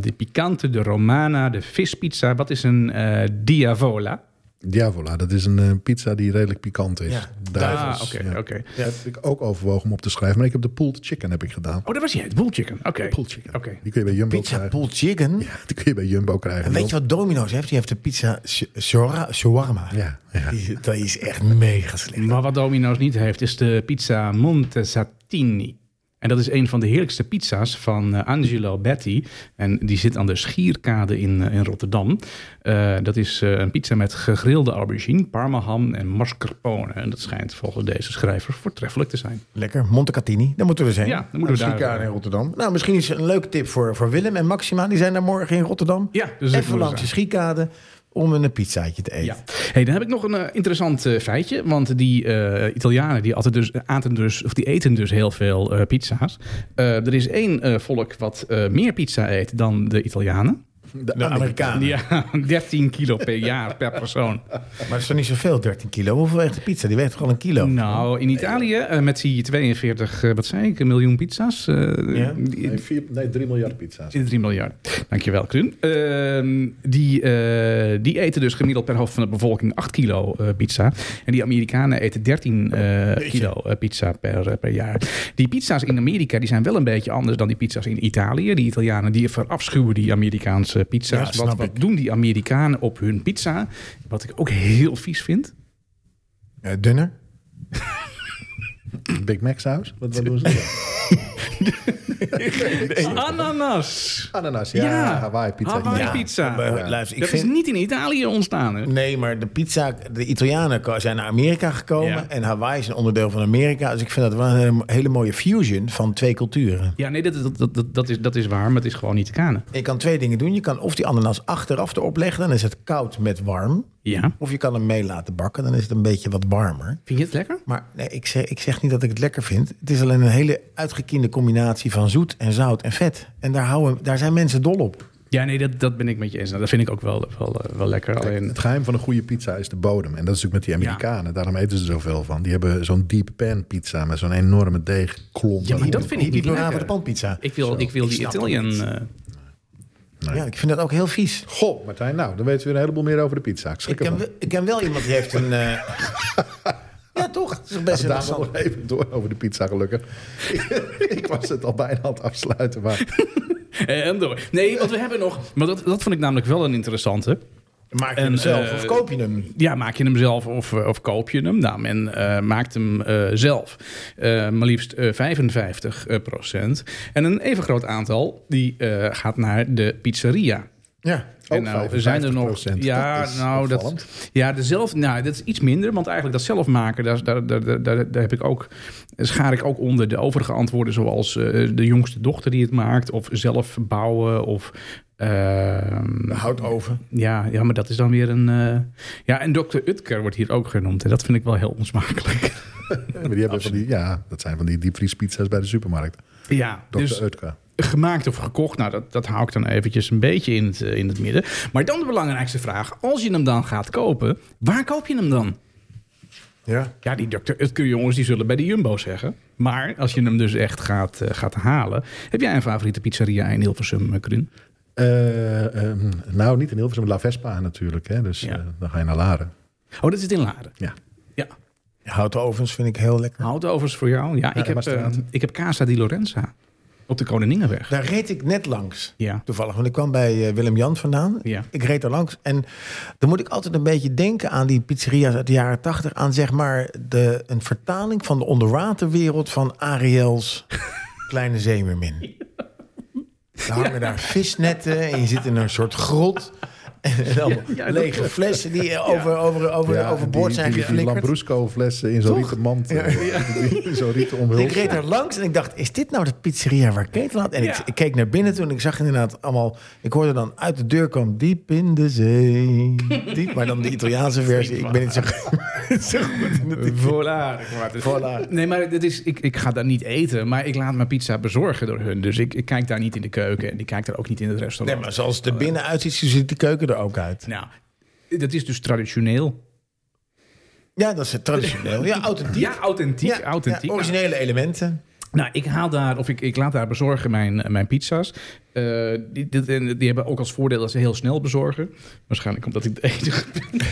de Picante, de Romana, de vispizza. Wat is een eh, Diavola? Diavola, dat is een eh, pizza die redelijk pikant is. Ja. Duivels, Ah, oké, ja. oké. Ja, heb ik ook overwogen om op te schrijven. Maar ik heb de pulled chicken heb ik gedaan. Oh, dat was jij, het Bull Chicken. Oké. Pulled chicken. Oké. Die kun je bij Jumbo Pizza krijgen. Pool Chicken. Ja, die kun je bij Jumbo krijgen. En weet je wat Domino's heeft? Die heeft de pizza sh- shora- shawarma. Ja, ja. Die is- dat is echt mega slecht. Maar wat Domino's niet heeft, is de pizza Montesatini. En dat is een van de heerlijkste pizza's van eh, Angelo Betti. En die zit aan de Schierkade in, eh, in Rotterdam. Eh, dat is eh, een pizza met gegrilde aubergine, parmaham en mascarpone. En dat schijnt volgens deze schrijver voortreffelijk te zijn. Lekker, Montecatini. Daar moeten we zijn. Ja, dan moeten we daar- eh, in Rotterdam. Nou, misschien is een leuke tip voor, voor Willem en Maxima. Die zijn daar morgen in Rotterdam. Ja, dus dat Even moet langs de zijn. schiekade om een pizzaatje te eten. Ja. Hey, dan heb ik nog een eh, interessant eh, feitje. Want die eh, Italianen die aten dus, aten dus, of die eten dus heel veel eh, pizza's. Eh, er is één eh, volk wat eh, meer pizza eet dan de Italianen. De, Amerikanen. Ja, 13 kilo per jaar per persoon. Maar Ah. dat is toch niet zoveel, 13 kilo? Hoeveel weegt de pizza? Die weegt toch al een kilo? Nou, in Italië eh, met die 42, eh, wat zei ik, een miljoen pizza's. eh Ja. die- Nee, vier, nee, 3 miljard pizza's. in 3 miljard. Dankjewel, Kruun. Ehm, die, eh, die eten dus gemiddeld per hoofd van de bevolking 8 kilo eh, pizza. En die Amerikanen eten 13 eh, kilo eh, pizza per, eh, per jaar. Die pizza's in Amerika die zijn wel een beetje anders dan die pizza's in Italië. Die Italianen die verafschuwen die Amerikaanse Ja, pizza's. snap wat, wat doen die Amerikanen op hun pizza? Wat ik ook heel vies vind. Eh, dunner. Big Mac saus? Wat, wat doen ze dan? Ananas. Ananas, ja. Ja. Hawaii pizza. Hawaii Ja. pizza. Maar, eh, luister, ik Dat is vind... niet in Italië ontstaan. Hè? Nee, maar de pizza... De Italianen ko- zijn naar Amerika gekomen. Ja. En Hawaii is een onderdeel van Amerika. Dus ik vind dat wel een hele- hele mooie fusion van twee culturen. Ja, nee, dat, dat, dat, dat, is, dat is waar, maar het is gewoon niet te kanen. Je kan twee dingen doen. Je kan of die ananas achteraf erop leggen. Dan is het koud met warm. Ja. Of je kan hem mee laten bakken. Dan is het een beetje wat warmer. Vind je het lekker? Maar nee, ik, zeg, ik zeg niet dat ik het lekker vind. Het is alleen een hele uitgekiende combinatie van zoet en zout en vet. En daar, houden, daar zijn mensen dol op. Ja, nee, dat, dat ben ik met je eens. Nou, Dat vind ik ook wel, wel, eh, wel lekker. Alleen, Het geheim van een goede pizza is de bodem. En dat is natuurlijk met die Amerikanen. Daarom eten ze zoveel van. Die hebben zo'n deep pan pizza met zo'n enorme deegklomp. Ja, maar dat vind ik Die niet Dora lekker. van de panpizza. ik wil, ik wil ik die snap Italian... het niet. eh, Ja, ik vind dat ook heel vies. Goh, Martijn, nou, dan weten we een heleboel meer over de pizza. Ik Ik schrik ken, ervan. wel- ik ken wel iemand die heeft een... eh, ja, toch? Het is toch best Als daar interessant. nog even door over de pizza, gelukkig. ik was het al bijna aan het afsluiten, maar En eh, door. Nee, want we hebben nog... Maar dat, dat vond ik namelijk wel een interessante. Maak je En, hem zelf eh, of koop je hem? Ja, maak je hem zelf of, eh, of koop je hem? Nou, men eh, maakt hem eh, zelf. Eh, maar liefst eh, 55 eh, procent. En een even groot aantal die eh, gaat naar de pizzeria. Ja. En nou, er zijn er nog. Ja, Oh, Dat is nou, dat, opvallend. ja de zelf, nou, dat is iets minder. Want eigenlijk dat zelf maken, daar, daar, daar, daar, daar- daar heb ik ook, schaar ik ook onder de overige antwoorden. Zoals eh, de jongste dochter die het maakt, of zelf bouwen. Of, ehm, Houtoven. ja, ja, maar dat is dan weer een. eh, Ja, en Dr. Utker wordt hier ook genoemd. En dat vind ik wel heel onsmakelijk. Ja, maar die hebben van die, ja, dat zijn van die diepvriespizza's bij de supermarkt. ja, Dr. dus Utka. gemaakt of gekocht. Nou, dat, dat hou ik dan eventjes een beetje in het, eh, in het midden. Maar dan de belangrijkste vraag. Als je hem dan gaat kopen, waar koop je hem dan? Ja. Ja, die Dr. Utker jongens, die zullen bij de Jumbo zeggen. Maar als je hem dus echt gaat, eh, gaat halen. Heb jij een favoriete pizzeria in Hilversum, eh, Krun? Eh, ehm, nou, niet in Hilversum, La Vespa natuurlijk. Hè? Dus Ja. eh, dan ga je naar Laren. Oh, dat is in Laren. Ja. Ja. Houtovens vind ik heel lekker. Houtovers voor jou. Ja, ik, de heb, eh, Maasstraat. ik heb Casa di Lorenza op de Koninginweg. Daar reed ik net langs. Ja. Toevallig, want ik kwam bij eh, Willem-Jan vandaan. Ja. Ik reed er langs. En dan moet ik altijd een beetje denken aan die pizzeria's uit de jaren tachtig. Aan zeg maar de, een vertaling van de onderwaterwereld van Ariel's Kleine Zeemermin. Er hangen daar visnetten en je zit in een soort grot. En allemaal ja, dat lege klopt. flessen die eh, over, over, over, Ja, overboord die- zijn die, die, geflikkerd. Lambrusco flessen in zo'n Toch? rieten mand. eh, in Zo'n rieten Ik omhuld. reed daar langs en ik dacht, is dit nou de pizzeria waar Keten had? En Ja. ik, ik keek naar binnen toen en ik zag inderdaad allemaal... Ik hoorde dan uit de deur kwam diep in de zee. Diep, maar dan de Italiaanse versie. Ik ben niet zo, zo goed in het- Voilà. Voilà. Nee, maar het is, ik, ik ga daar niet eten, maar ik laat mijn pizza bezorgen door hun. Dus ik, ik kijk daar niet in de keuken en ik kijk daar ook niet in het Nee, restaurant. maar zoals het er binnen uitziet, zo ziet de keuken er ook uit. Nou, dat is dus traditioneel. Ja, dat is het traditioneel. Ja, authentiek. Ja, authentiek, authentiek. ja, originele elementen. Nou, ik haal daar, of ik, ik laat daar bezorgen mijn, mijn pizza's. Eh, die, dit- en die hebben ook als voordeel dat ze heel snel bezorgen. Waarschijnlijk omdat ik de enige ben.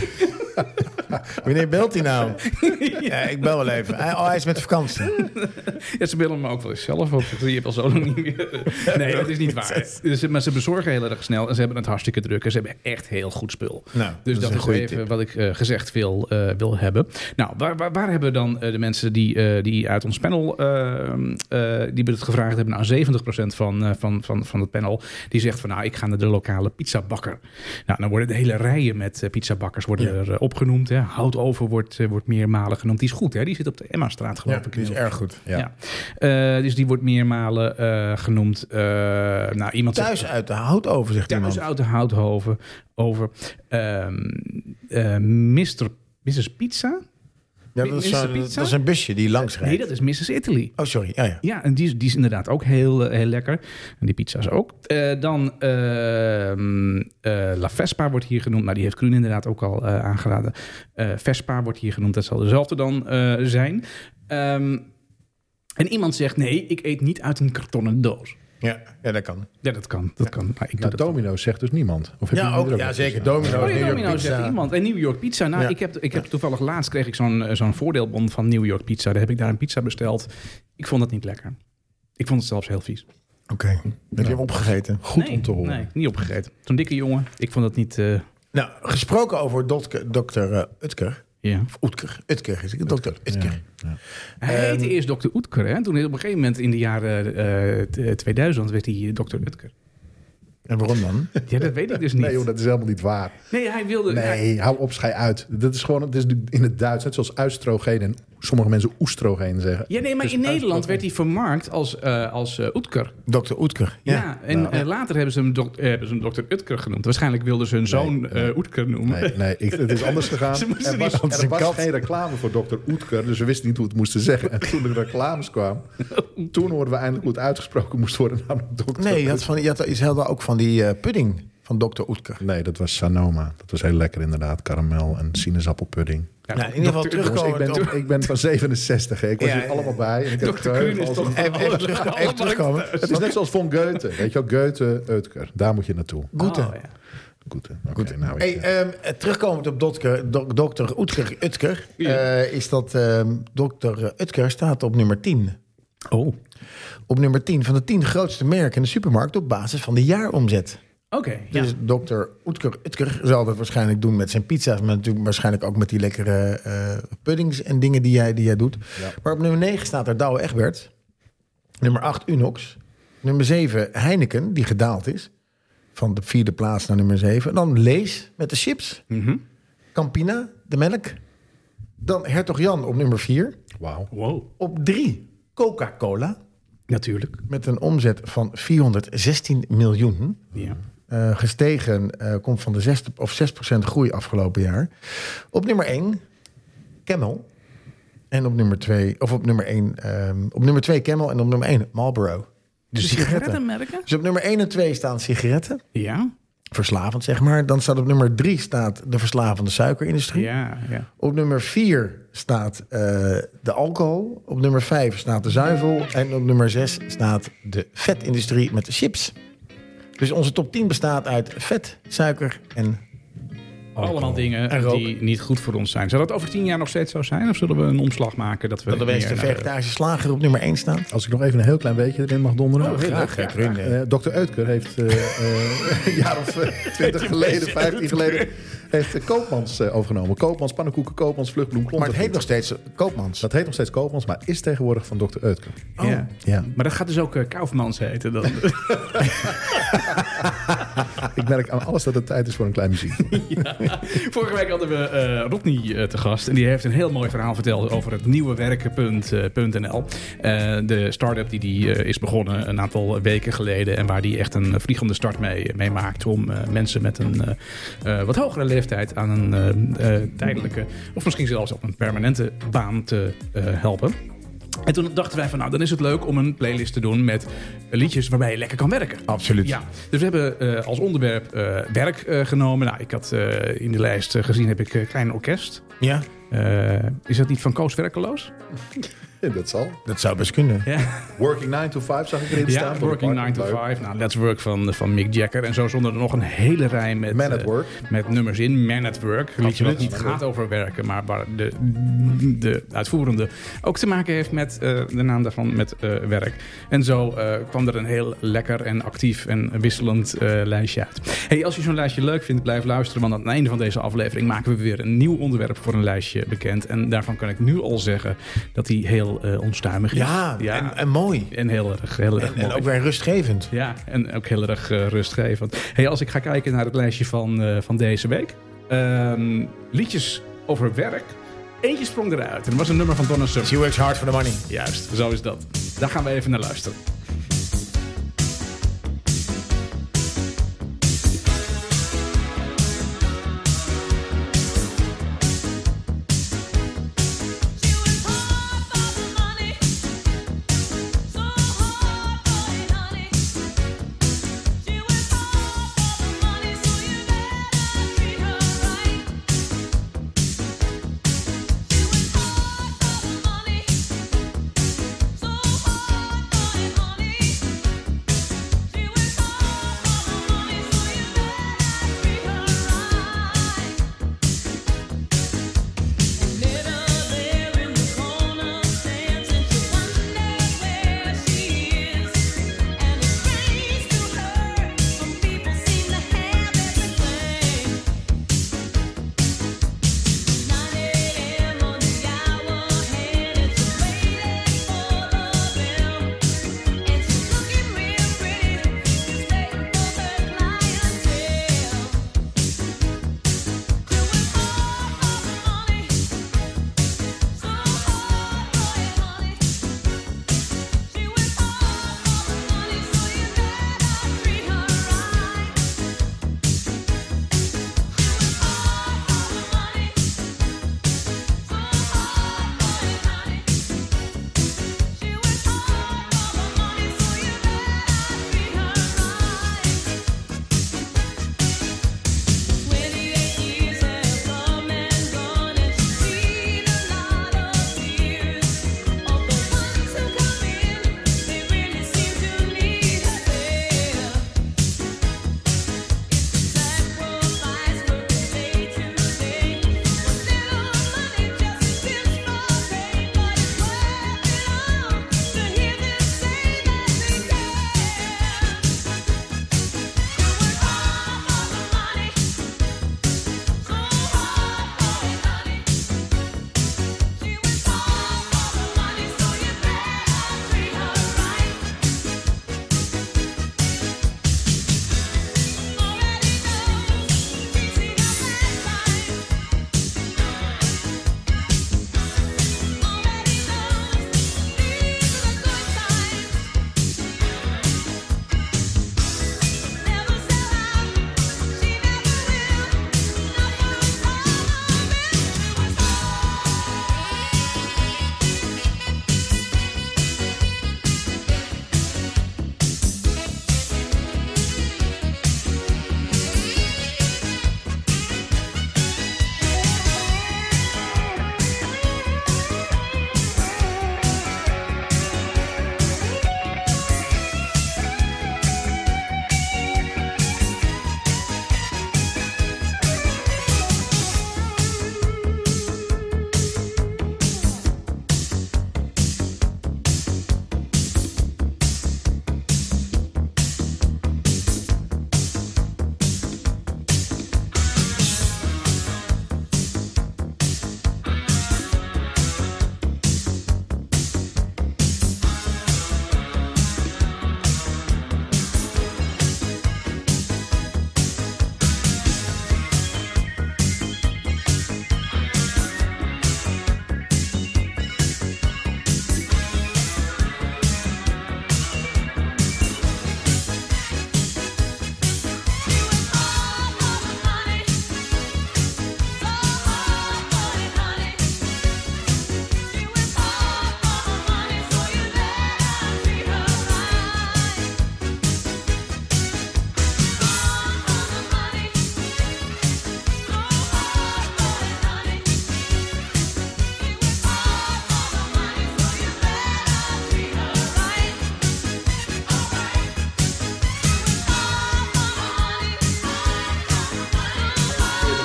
Wanneer belt hij nou? Ja, ik bel wel even. Hij- Oh, hij is met de vakantie. Ja, ze willen me ook wel eens zelf op. Je hebt al zo lang niet meer. Nee, dat is niet waar. Dus, maar ze bezorgen heel erg snel en ze hebben het hartstikke druk. En ze hebben echt heel goed spul. Nou, dus dat dat is is, een goede even tip. wat ik eh, gezegd wil, eh, wil hebben. Nou, waar, waar, waar hebben we dan eh, de mensen die, eh, die uit ons panel... eh, eh, die we het gevraagd hebben? Nou, 70% van, eh, van, van, van het panel die zegt van... nou, ik ga naar de lokale pizzabakker. Nou, dan worden de hele rijen met eh, pizzabakkers worden er, eh, opgenoemd. Hè. Houtover wordt, eh, wordt meermalen genoemd. Die is goed, hè? Die zit op de Emma-straat, geloof Ja, ik. die is erg goed. Ja. Eh, dus die wordt meermalen eh, genoemd. Eh, nou, iemand zegt- Thuis uit de hout over, zegt thuis iemand. uit de Houthoven over. Ehm eh, Mr. Mrs. Pizza? Ja, dat, is Is er zo'n- pizza? dat is een busje die langs rijdt. Nee, dat is Mrs. Italy. Oh, sorry. Ja, ja. Ja, en die, is- die is inderdaad ook heel, eh, heel lekker. En die pizza's ook. Eh, dan ehm, eh, La Vespa wordt hier genoemd. Nou, die heeft Kruun inderdaad ook al eh, aangeraden. Eh, Vespa wordt hier genoemd. Dat zal dezelfde dan eh, zijn. Ehm, en iemand zegt, nee, ik eet niet uit een kartonnen doos. Ja, ja dat kan. Ja, dat kan. Dat kan. Maar ik doe Nou, dat dan. Domino zegt dus niemand. Of heb je Ja, die ook, er ja nog zeker. tussen? Domino, Oh, New ja, York domino, zegt Pizza. iemand. En New York Pizza. Nou, Ja. ik, heb, ik heb toevallig laatst kreeg ik zo'n eh, zo'n voordeelbon van New York Pizza. Daar heb ik daar een pizza besteld. Ik vond dat niet lekker. Ik vond het zelfs heel vies. Oké, heb je hem opgegeten? Goed nee, om te horen. Nee, niet opgegeten. Zo'n dikke jongen. Ik vond dat niet... eh, Nou, gesproken over dokter, dokter eh, Utker. ja. Of Utker. Utker is het. Dokter Utker. Hij heette eerst Dr. Oetker. Hè? Toen op een gegeven moment in de jaren eh, t- eh, 2000 werd hij eh, Dr. Oetker. En waarom dan? Ja, dat weet ik dus niet. Nee, Nee, joh, dat is helemaal niet waar. hij wilde... hij- Nee, hou op, schei uit. Dat is gewoon, het is in het Duits, net zoals oestrogeen en sommige mensen oestrogeen zeggen. ja, nee, maar in Nederland werd hij vermarkt als, eh als eh, Oetker. Dokter Utker. Ja, Ja. en eh, later hebben ze, hem dok- eh, hebben ze hem dokter Utker genoemd. Waarschijnlijk wilden ze hun zoon eh Utker noemen. Nee, nee ik, het is anders gegaan. Ze moesten er niet- was, Want het er is een was kat. geen reclame voor Dr. Oetker, dus we wisten niet hoe we het moesten zeggen. En toen de reclames kwamen, toen hoorden we eindelijk hoe het uitgesproken moest worden, namelijk dokter Nee, je had, van, je had is helder ook van die eh, pudding van dokter Utker. Nee, dat was Sanoma. Dat was heel lekker inderdaad. Karamel en sinaasappelpudding. Ja, Nou, in ieder geval dokter- Jongens, ik terugkomen. ben, ik ben van 67. hè. Ik was Ja, hier ja. allemaal bij. En ik heb Dr. geheugen Kuhn is als toch- een- Even, even, terug- Allemaal even terugkomen. Het is net zoals von Goethe. Weet je wel, Goethe, Utker. Daar moet je naartoe. Goethe. Oh, ja. Goethe. Oké, nou, ik, Hey, eh, ehm, eh, terugkomend op dokter, dok, dokter Utker, Utker Ja. eh, is dat ehm dokter Utker staat op nummer 10. Oh, oké. Op nummer 10 van de 10 grootste merken in de supermarkt op basis van de jaaromzet. ja. Dus dokter Utker, Utker zal dat waarschijnlijk doen met zijn pizza's, maar natuurlijk waarschijnlijk ook met die lekkere eh, puddings en dingen die jij, die jij doet. Maar op nummer 9 staat er Douwe Egbert. Nummer 8 Unox. Nummer 7 Heineken, die gedaald is. Van de vierde plaats naar nummer 7. Dan Lees met de chips. Mhm. Campina, de melk. Dan Hertog Jan op nummer 4. Wauw. Wow. Op 3 Coca-Cola Natuurlijk. met een omzet van 416 miljoen. Ja. Eh, gestegen, eh, komt van de 6, of 6% groei afgelopen jaar. Op nummer 1, Camel. En op nummer 2, of op nummer 1, ehm, op nummer 2 Camel en op nummer 1 Marlboro. De sigarettenmerken? Dus op nummer 1 en 2 staan sigaretten, Ja. verslavend zeg maar. Dan staat op nummer 3 staat de verslavende suikerindustrie. Ja, ja. Op nummer 4 staat eh, de alcohol. Op nummer 5 staat de zuivel. En op nummer 6 staat de vetindustrie met de chips. Dus onze top 10 bestaat uit vet, suiker en Allemaal dingen En rook. die niet goed voor ons zijn. Zou dat over tien jaar nog steeds zo zijn? Of zullen we een omslag maken? Dat we dat de meer beste naar- vegetarische slager op nummer 1 staan. Als ik nog even een heel klein beetje erin mag donderen. Oh, heel leuk, ja, graag. Eh, Dr. Uitker heeft eh, eh, een jaar of twintig geleden, 15 geleden, heeft eh, Koopmans eh, overgenomen. Koopmans, pannenkoeken, Koopmans, vluchtbloem, klont. Maar het heet nog steeds eh, Koopmans. Dat heet nog steeds Koopmans, maar is tegenwoordig van Dr. Uitker. Ja. Ja. Maar dat gaat dus ook eh, Kaufmans heten. Dan. Ik merk aan alles dat het tijd is voor een klein muziek. Vorige week hadden we eh Rodney eh, te gast. En die heeft een heel mooi verhaal verteld over het nieuwe eh, werken.nl. Eh, de start-up die, die eh, is begonnen een aantal weken geleden. En waar die echt een vliegende start mee, mee maakt. Om eh, mensen met een eh, eh, wat hogere leeftijd aan een eh, eh, tijdelijke. of misschien zelfs op een permanente baan te eh, helpen. En toen dachten wij van nou, dan is het leuk om een playlist te doen met liedjes waarbij je lekker kan werken. Absoluut. Ja, dus we hebben eh, als onderwerp eh, werk eh, genomen. Nou, ik had eh, in de lijst eh, gezien, heb ik eh, Klein Orkest. Ja, Eh, is dat niet van Koos Werkeloos? dat zal. dat zou best kunnen. Ja, Working 9 to 5 zag ik erin staan. ja voor de Working 9 to partner. 5. Nou, Let's Work van, van Mick Jagger. En zo stonden er nog een hele rij met, Man at eh, Work. met nummers in. Man at Work. Een liedje dat niet Absoluut. gaat over werken, maar waar de, de uitvoerende ook te maken heeft met eh, de naam daarvan, met eh, werk. En zo eh, kwam er een heel lekker en actief en wisselend eh, lijstje uit. Hey, als je zo'n lijstje leuk vindt, blijf luisteren, want aan het einde van deze aflevering maken we weer een nieuw onderwerp voor een lijstje bekend. En daarvan kan ik nu al zeggen dat die heel eh, onstuimig is. Ja, En, en mooi. en heel erg, heel erg En, en mooi. ook weer rustgevend. Ja, en ook heel erg eh, rustgevend. Hey, als ik ga kijken naar het lijstje van, eh, van deze week. Ehm, liedjes over werk. Eentje sprong eruit. En dat was een nummer van Donna Summer. She works hard for the money. Juist, zo is dat. Daar gaan we even naar luisteren. She was hard for the money, so hard for it, honey. She was hard for the money, so you better treat her right. She was hard for the money, so hard for it, honey.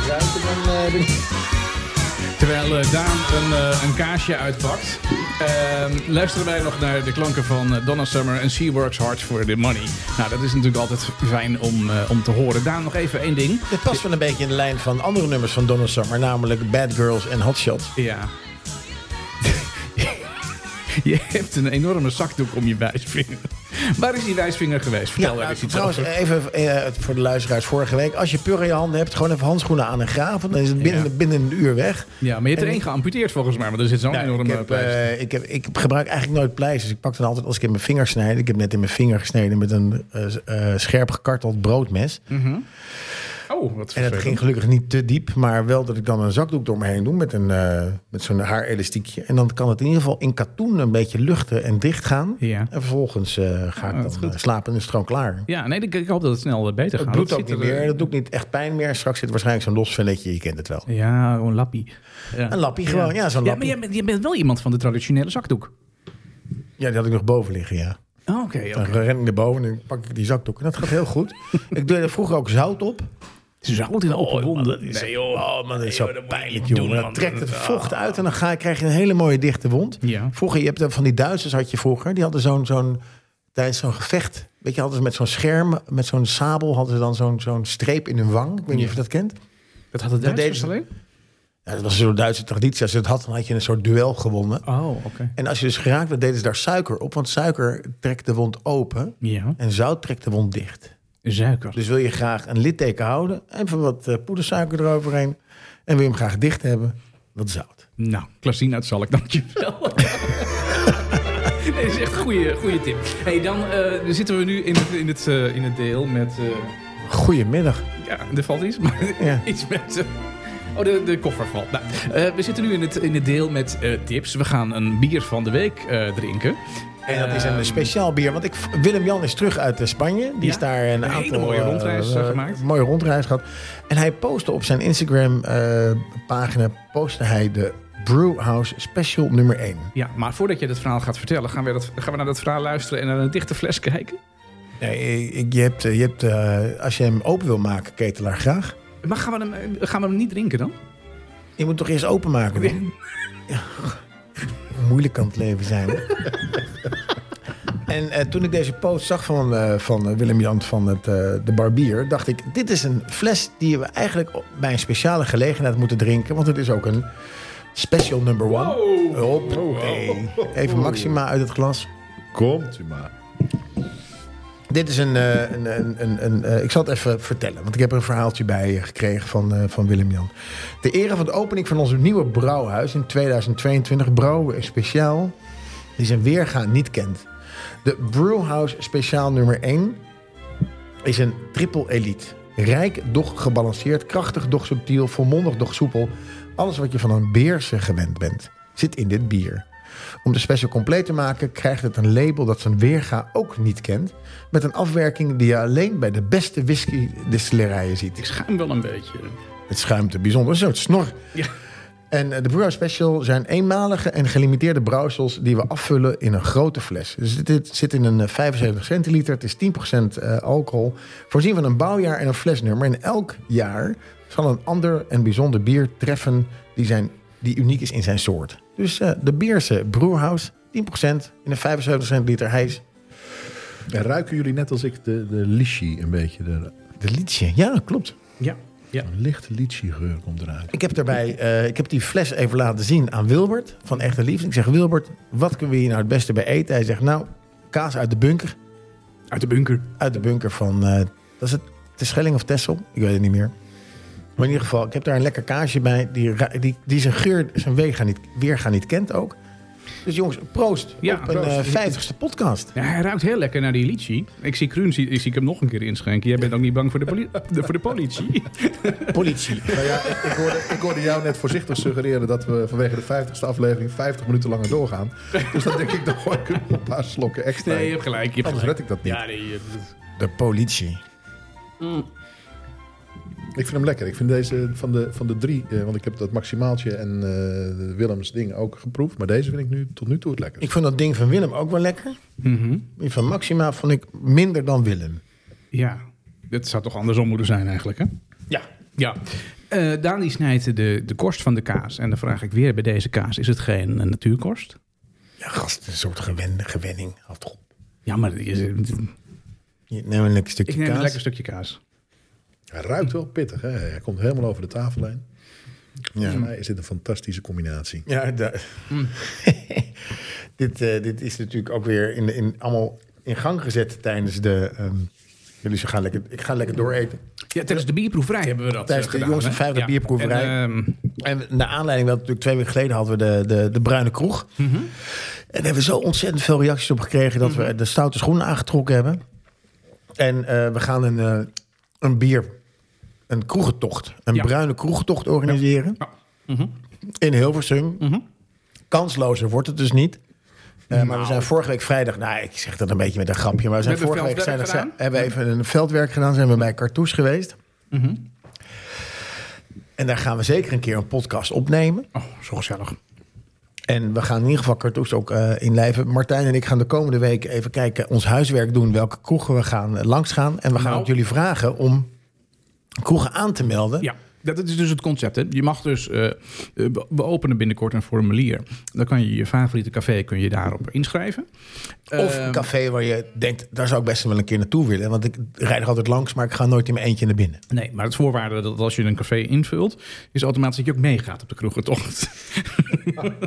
dan eh, ben ik- Terwijl eh, Daan een, eh, een kaasje uitpakt, ehm, luisteren wij nog naar de klanken van eh, Donna Summer en She Works Hard for the Money. Nou, dat is natuurlijk altijd fijn om, eh, om te horen. Daan, nog even één ding. Dit past wel een beetje in de lijn van andere nummers van Donna Summer, namelijk Bad Girls en Hot Shots. Ja. je hebt een enorme zakdoek om je wijsvinger. Waar is die wijsvinger geweest? Vertel Ja, nou, daar eens iets trouwens, over. even eh, voor de luisteraars vorige week. Als je pur in je handen hebt, gewoon even handschoenen aan en graven. Dan is het binnen, Ja. binnen een uur weg. Ja, maar je hebt eh, en er één ik- geamputeerd volgens mij, want er zit zo'n Nou, ik, enorme heb, eh, pleister. ik, heb, ik gebruik eigenlijk nooit pleisters. Ik pak dan altijd als ik in mijn vinger snijd. Ik heb net in mijn vinger gesneden met een eh, eh, scherp gekarteld broodmes. Hm, Oh, wat En het vervelend. ging gelukkig niet te diep, maar wel dat ik dan een zakdoek door me heen doe met, een, eh, met zo'n haarelastiekje. En dan kan het in ieder geval in katoen een beetje luchten en dicht gaan. Ja. En vervolgens eh, ga dat ik is dan goed. eh, slapen en is het gewoon klaar. Ja, nee, ik, ik hoop dat het snel eh, beter gaat. Het bloedt Dat ook ziet niet er, eh, meer, Nou, dat doet niet echt pijn meer. Straks zit waarschijnlijk zo'n los velletje, je kent het wel. Ja, gewoon een lappie. Ja. Een lappie gewoon, ja, zo'n Ja, maar lappie. je bent, je bent wel iemand van de traditionele zakdoek. Ja, die had ik nog boven liggen, ja. Oh, Oké, oké. Dan ren ik naar boven en dan pak ik die zakdoek. En dat gaat heel goed. ik deed er vroeger ook zout op. Het is altijd een Oh, open wonden. Nee, joh. Oh, man, dat is zo pijnlijk, jongen. dat trekt het vocht uit en dan ga, krijg je een hele mooie dichte wond. Ah. Ja. Vroeger, je hebt dat van die Duitsers had je vroeger. Die hadden zo'n, zo'n tijdens zo'n gevecht, weet je, hadden ze met zo'n scherm, met zo'n sabel, hadden ze dan zo'n, zo'n streep in hun wang. Ik weet niet of je dat kent. Dat had het Dat Duitsers alleen? deden Ja, dat was zo'n Duitse traditie. Als je dat had, dan had je een soort duel gewonnen. Oh, oké. En als je dus geraakt werd, deden ze daar suiker op, want suiker trekt de wond open Ja, en zout trekt de wond dicht. suiker. Dus wil je graag een litteken houden, even wat eh, poedersuiker eroverheen. En wil je hem graag dicht hebben, wat zout. Nou, Klasien uit Zalk, dankjewel. Nee, dat is echt een goede, goede tip. hey, dan eh, zitten we nu in het, in het, eh, in het deel met... eh, Goedemiddag. ja, er valt iets, maar Ja. iets met... eh, oh, de, de koffer valt. Nou, eh, we zitten nu in het, in het deel met eh, tips. We gaan een bier van de week eh, drinken. En dat is een Ehm, speciaal bier. Want ik, Willem-Jan is terug uit eh, Spanje. Die Ja, is daar een een, hele aantal... mooie eh, rondreis, eh, eh, gemaakt. Mooie rondreis gehad. En hij postte op zijn Instagram-pagina... postte hij de Brewhouse Special nummer 1. Ja, maar voordat je dat verhaal gaat vertellen, gaan we, dat, gaan we naar dat verhaal luisteren en naar een dichte fles kijken. Nee, ik- je hebt, eh, je hebt, eh, als je hem open wil maken, ketelaar, graag. Maar gaan we hem, eh, gaan we hem niet drinken dan? Je moet toch eerst openmaken? hoor. moeilijk kan het leven zijn. hè? en eh, toen ik deze post zag van, eh, van eh, Willem-Jan van het, eh, de barbier... dacht ik, dit is een fles die we eigenlijk op- bij een speciale gelegenheid moeten drinken. Want het is ook een special number one. Wow. Hop, hey. Even Maxima uit het glas. Komt u maar. Dit is een... eh, een, een, een, een, eh, ik zal het even vertellen, want ik heb er een verhaaltje bij eh, gekregen van, eh, van Willem-Jan. De ere van de opening van ons nieuwe brouwhuis in 2022 brouwen we een speciaal die zijn weerga niet kent. De Brewhouse Speciaal nummer 1 is een triple elite. Rijk, doch gebalanceerd, krachtig, doch subtiel, volmondig, doch soepel. Alles wat je van een beerse gewend bent, zit in dit bier. Om de special compleet te maken krijgt het een label dat zijn weerga ook niet kent... met een afwerking die je alleen bij de beste whisky-distillerijen ziet. Ik schuim wel een beetje. Het schuimt er bijzonder. Een soort snor. Ja. En eh, de Brewer Special zijn eenmalige en gelimiteerde brouwsels die we afvullen in een grote fles. Dus dit- dit zit in een eh, 75 centiliter, het is 10% eh, alcohol. Voorzien van een bouwjaar en een flesnummer. En elk jaar zal een ander en bijzonder bier treffen die, zijn, die uniek is in zijn soort. Dus eh, de Bierse Brewerhouse, 10% in een 75 centiliter. Hij is En ruiken jullie net als ik de, de lychee een beetje? De, de liedje. Ja, klopt. Ja. ja. een lichte lycheegeur komt eruit. Ik heb daarbij, eh, ik heb die fles even laten zien aan Wilbert van Echte Liefde. Ik zeg, Wilbert, wat kunnen we hier nou het beste bij eten? Hij zegt, nou, kaas uit de bunker. Uit de bunker. Uit de bunker van, eh was het de Schelling of Tessel? Ik weet het niet meer. Maar in ieder geval, ik heb daar een lekker kaasje bij. Die, ra- die, die zijn geur, zijn weerga niet, weerga niet kent ook. Dus jongens, proost Ja, op proost. een eh, vijftigste podcast. Ja, hij ruikt heel lekker naar die lychee. Ik zie Kruun, zie, zie ik hem nog een keer inschenken. Jij bent ook niet bang voor de, poli- de- voor de politie. Politie. Nou ja, ik, ik, hoorde, ik hoorde jou net voorzichtig suggereren dat we vanwege de 50ste aflevering 50 minuten langer doorgaan. Dus dan denk ik, dan gooi ik er nog een paar slokken extra. Nee, je in. hebt gelijk. Je hebt Anders gelijk. red ik dat niet. Ja, nee. je- De politie. Ik vind hem lekker. Ik vind deze van de, van de drie, eh, want ik heb dat maximaaltje en eh, Willems ding ook geproefd. Maar deze vind ik nu tot nu toe het lekkerst. Ik vond dat ding van Willem ook wel lekker. Mhm. Die van Maxima vond ik minder dan Willem. Ja. Dat zou toch andersom moeten zijn eigenlijk, hè? Ja. Ja. Eh Dani snijdt de, de korst van de kaas. En dan vraag ik weer bij deze kaas, is het geen eh, natuurkorst? Ja, gast, een soort gewen, gewenning. Houd toch op. Ja, maar je- Je neemt een lekker ik stukje neem kaas. een lekker stukje kaas. Hij ruikt wel pittig, hè? Hij komt helemaal over de tafel heen. Ja. Volgens mij is dit een fantastische combinatie. Ja, da- Mm. dit, eh, dit is natuurlijk ook weer in, in, allemaal in gang gezet tijdens de... ehm, jullie ze gaan lekker, ik ga lekker dooreten. Ja, tijdens de bierproeverij hebben we dat Tijdens eh, de gedaan, jongens van hè? vijfde Ja. bierproeverij. En, ehm, En naar aanleiding dat natuurlijk twee weken geleden hadden we de, de, de Bruine Kroeg. Mhm. En daar hebben we zo ontzettend veel reacties op gekregen... dat Mhm. we de stoute schoenen aangetrokken hebben. En eh, we gaan een, eh, een bier... een kroegentocht, een Ja. bruine kroegentocht organiseren... Ja. in Hilversum. Mhm. Kanslozer wordt het dus niet. Eh, maar we zijn vorige week vrijdag... Nou, ik zeg dat een beetje met een grapje... maar we zijn We hebben vorige week veldwerk vrijdag... gedaan. hebben we even een veldwerk gedaan... zijn we bij Cartouche geweest... Mhm. En daar gaan we zeker een keer een podcast opnemen. oh, zo gezellig. En we gaan in ieder geval cartouche ook eh inlijven. Martijn en ik gaan de komende week even kijken, ons huiswerk doen, welke kroegen we gaan eh, langs langsgaan. En we gaan Nou. ook jullie vragen om kroegen aan te melden. Ja, dat is dus het concept. Hè? Je mag dus, eh, eh, we- we openen binnenkort een formulier. Dan kan je je favoriete café kun je daarop inschrijven. Of Ehm, een café waar je denkt, daar zou ik best wel een keer naartoe willen. Want ik rijd er altijd langs, maar ik ga nooit in mijn eentje naar binnen. Nee, maar het voorwaarde dat als je een café invult, is automatisch dat je ook meegaat op de kroegentocht.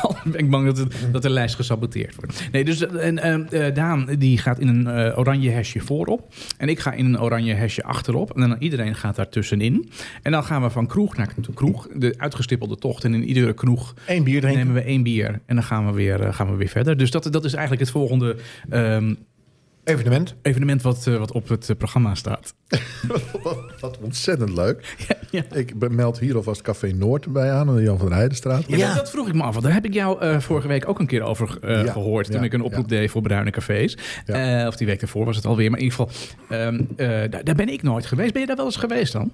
Al ben ik bang dat, het- dat de lijst gesaboteerd wordt. Nee, dus eh, en, eh, eh, Daan die gaat in een eh, oranje hesje voorop. En ik ga in een oranje hesje achterop. En dan iedereen gaat daar tussenin. En dan gaan we van kroeg naar kroeg. De uitgestippelde tocht. En in iedere kroeg Eén bier drinken. nemen we één bier. En dan gaan we weer, eh, gaan we weer verder. Dus dat, dat is eigenlijk het volgende ehm, Evenement. evenement wat, eh, wat op het eh, programma staat. Wat ontzettend leuk. ja. Ik be- meld hier alvast Café Noord bij aan, aan de Jan van der Heidenstraat. Ja, Ja. Dat, dat vroeg ik me af. Want daar heb ik jou eh, vorige week ook een keer over eh, Ja, gehoord. Toen ja, ik een oproep deed voor bruine cafés. Ja. Eh, of die week daarvoor was het alweer. Maar in ieder geval, ehm, eh, daar, daar ben ik nooit geweest. Ben je daar wel eens geweest dan?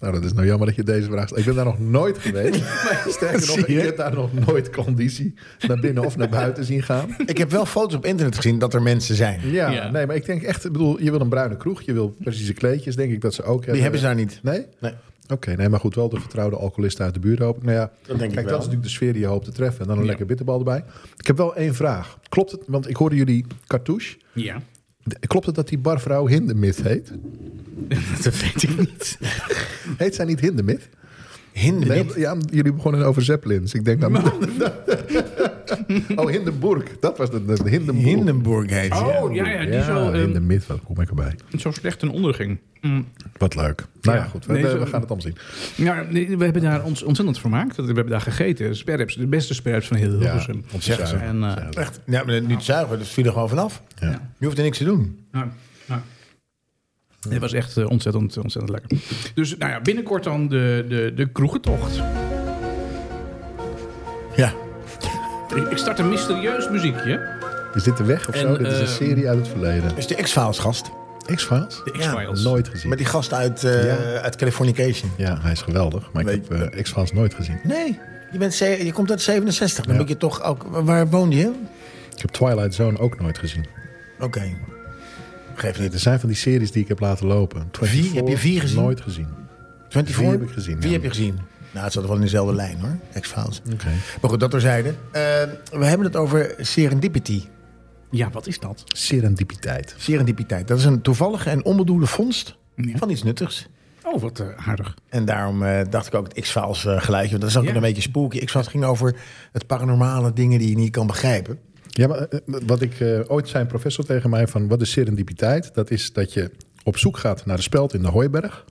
Nou, dat is nou jammer dat je deze vraag stelt. Ik ben daar nog nooit geweest. Sterker nog, Zie je? ik heb daar nog nooit conditie naar binnen of naar buiten zien gaan. Ik heb wel foto's op internet gezien dat er mensen zijn. Ja, Ja. nee, maar ik denk echt, ik bedoel, je wil een bruine kroeg, je wil precieze kleedjes, denk ik dat ze ook hebben. Die hebben ze daar niet. Nee? Nee. Oké, nee, maar goed, wel de vertrouwde alcoholisten uit de buurt hoop ik. Nou ja, denk ik kijk, wel. dat is natuurlijk de sfeer die je hoopt te treffen. En dan een lekker bitterbal erbij. Ik heb wel één vraag. Klopt het, want ik hoorde jullie cartouche. Ja. De- Klopt het dat die barvrouw Hindemith heet? dat weet ik niet. Heet zij niet Hindemith? Hinder Nee, niet. ja, jullie begonnen over Zeppelins. Ik denk dat... oh, Hindenburg. Dat was de, de Hindenburg. Hindenburg heet ze, ja. Oh, ja, ja. Die zo, ehm, Hindemith. Wat kom ik erbij? zo slecht ten onder ging. Mm. Wat leuk. Nou ja, Ja. goed. We, Nee, we- zo- we gaan het allemaal zien. Ja, nee, we hebben daar ons ontzettend vermaakt. We hebben daar gegeten. Sperps, de beste sperps van heel Hilversum. om te zuigen. En, eh, Echt. Ja, maar nu te zuigen, dat viel er gewoon vanaf. Ja. Je hoeft er niks te doen. Nou, nou. Het was echt eh, ontzettend, ontzettend lekker. Dus nou ja, binnenkort dan de, de, de kroegentocht. Ja. Ik ik start een mysterieus muziekje. Is dit de weg of En, zo? Dit is een ehm, serie uit het verleden. Dus de X-Files gast. X-Files? De Ja, X-Files. Nooit gezien. Met die gast uit, eh, Ja. uit Californication. Ja, hij is geweldig. Maar ik Weet- heb eh, X-Files nooit gezien. Nee, je, bent, ze- je komt uit 67. Dan Ja. moet je toch ook... Waar woonde je? Ik heb Twilight Zone ook nooit gezien. Oké. Geef Er niet. zijn van die series die ik heb laten lopen. 24, Heb je vier gezien? Nooit gezien. Oké. 24? Wie heb ik gezien, Wie ja. heb je gezien? Nou, het zat wel in dezelfde lijn hoor. X-Files. Maar goed, dat terzijde. Eh we hebben het over serendipity. Ja, wat is dat? Serendipiteit. Serendipiteit. Dat is een toevallige en onbedoelde vondst Ja. van iets nuttigs. Oh, wat eh, aardig. En daarom eh, dacht ik ook het X-Files eh, geluidje. Want dat is ook Ja. een beetje spooky. X-Files ging over het paranormale dingen die je niet kan begrijpen. Ja, maar eh, wat ik eh, ooit zei een professor tegen mij van wat is serendipiteit? Dat is dat je op zoek gaat naar de speld in de hooiberg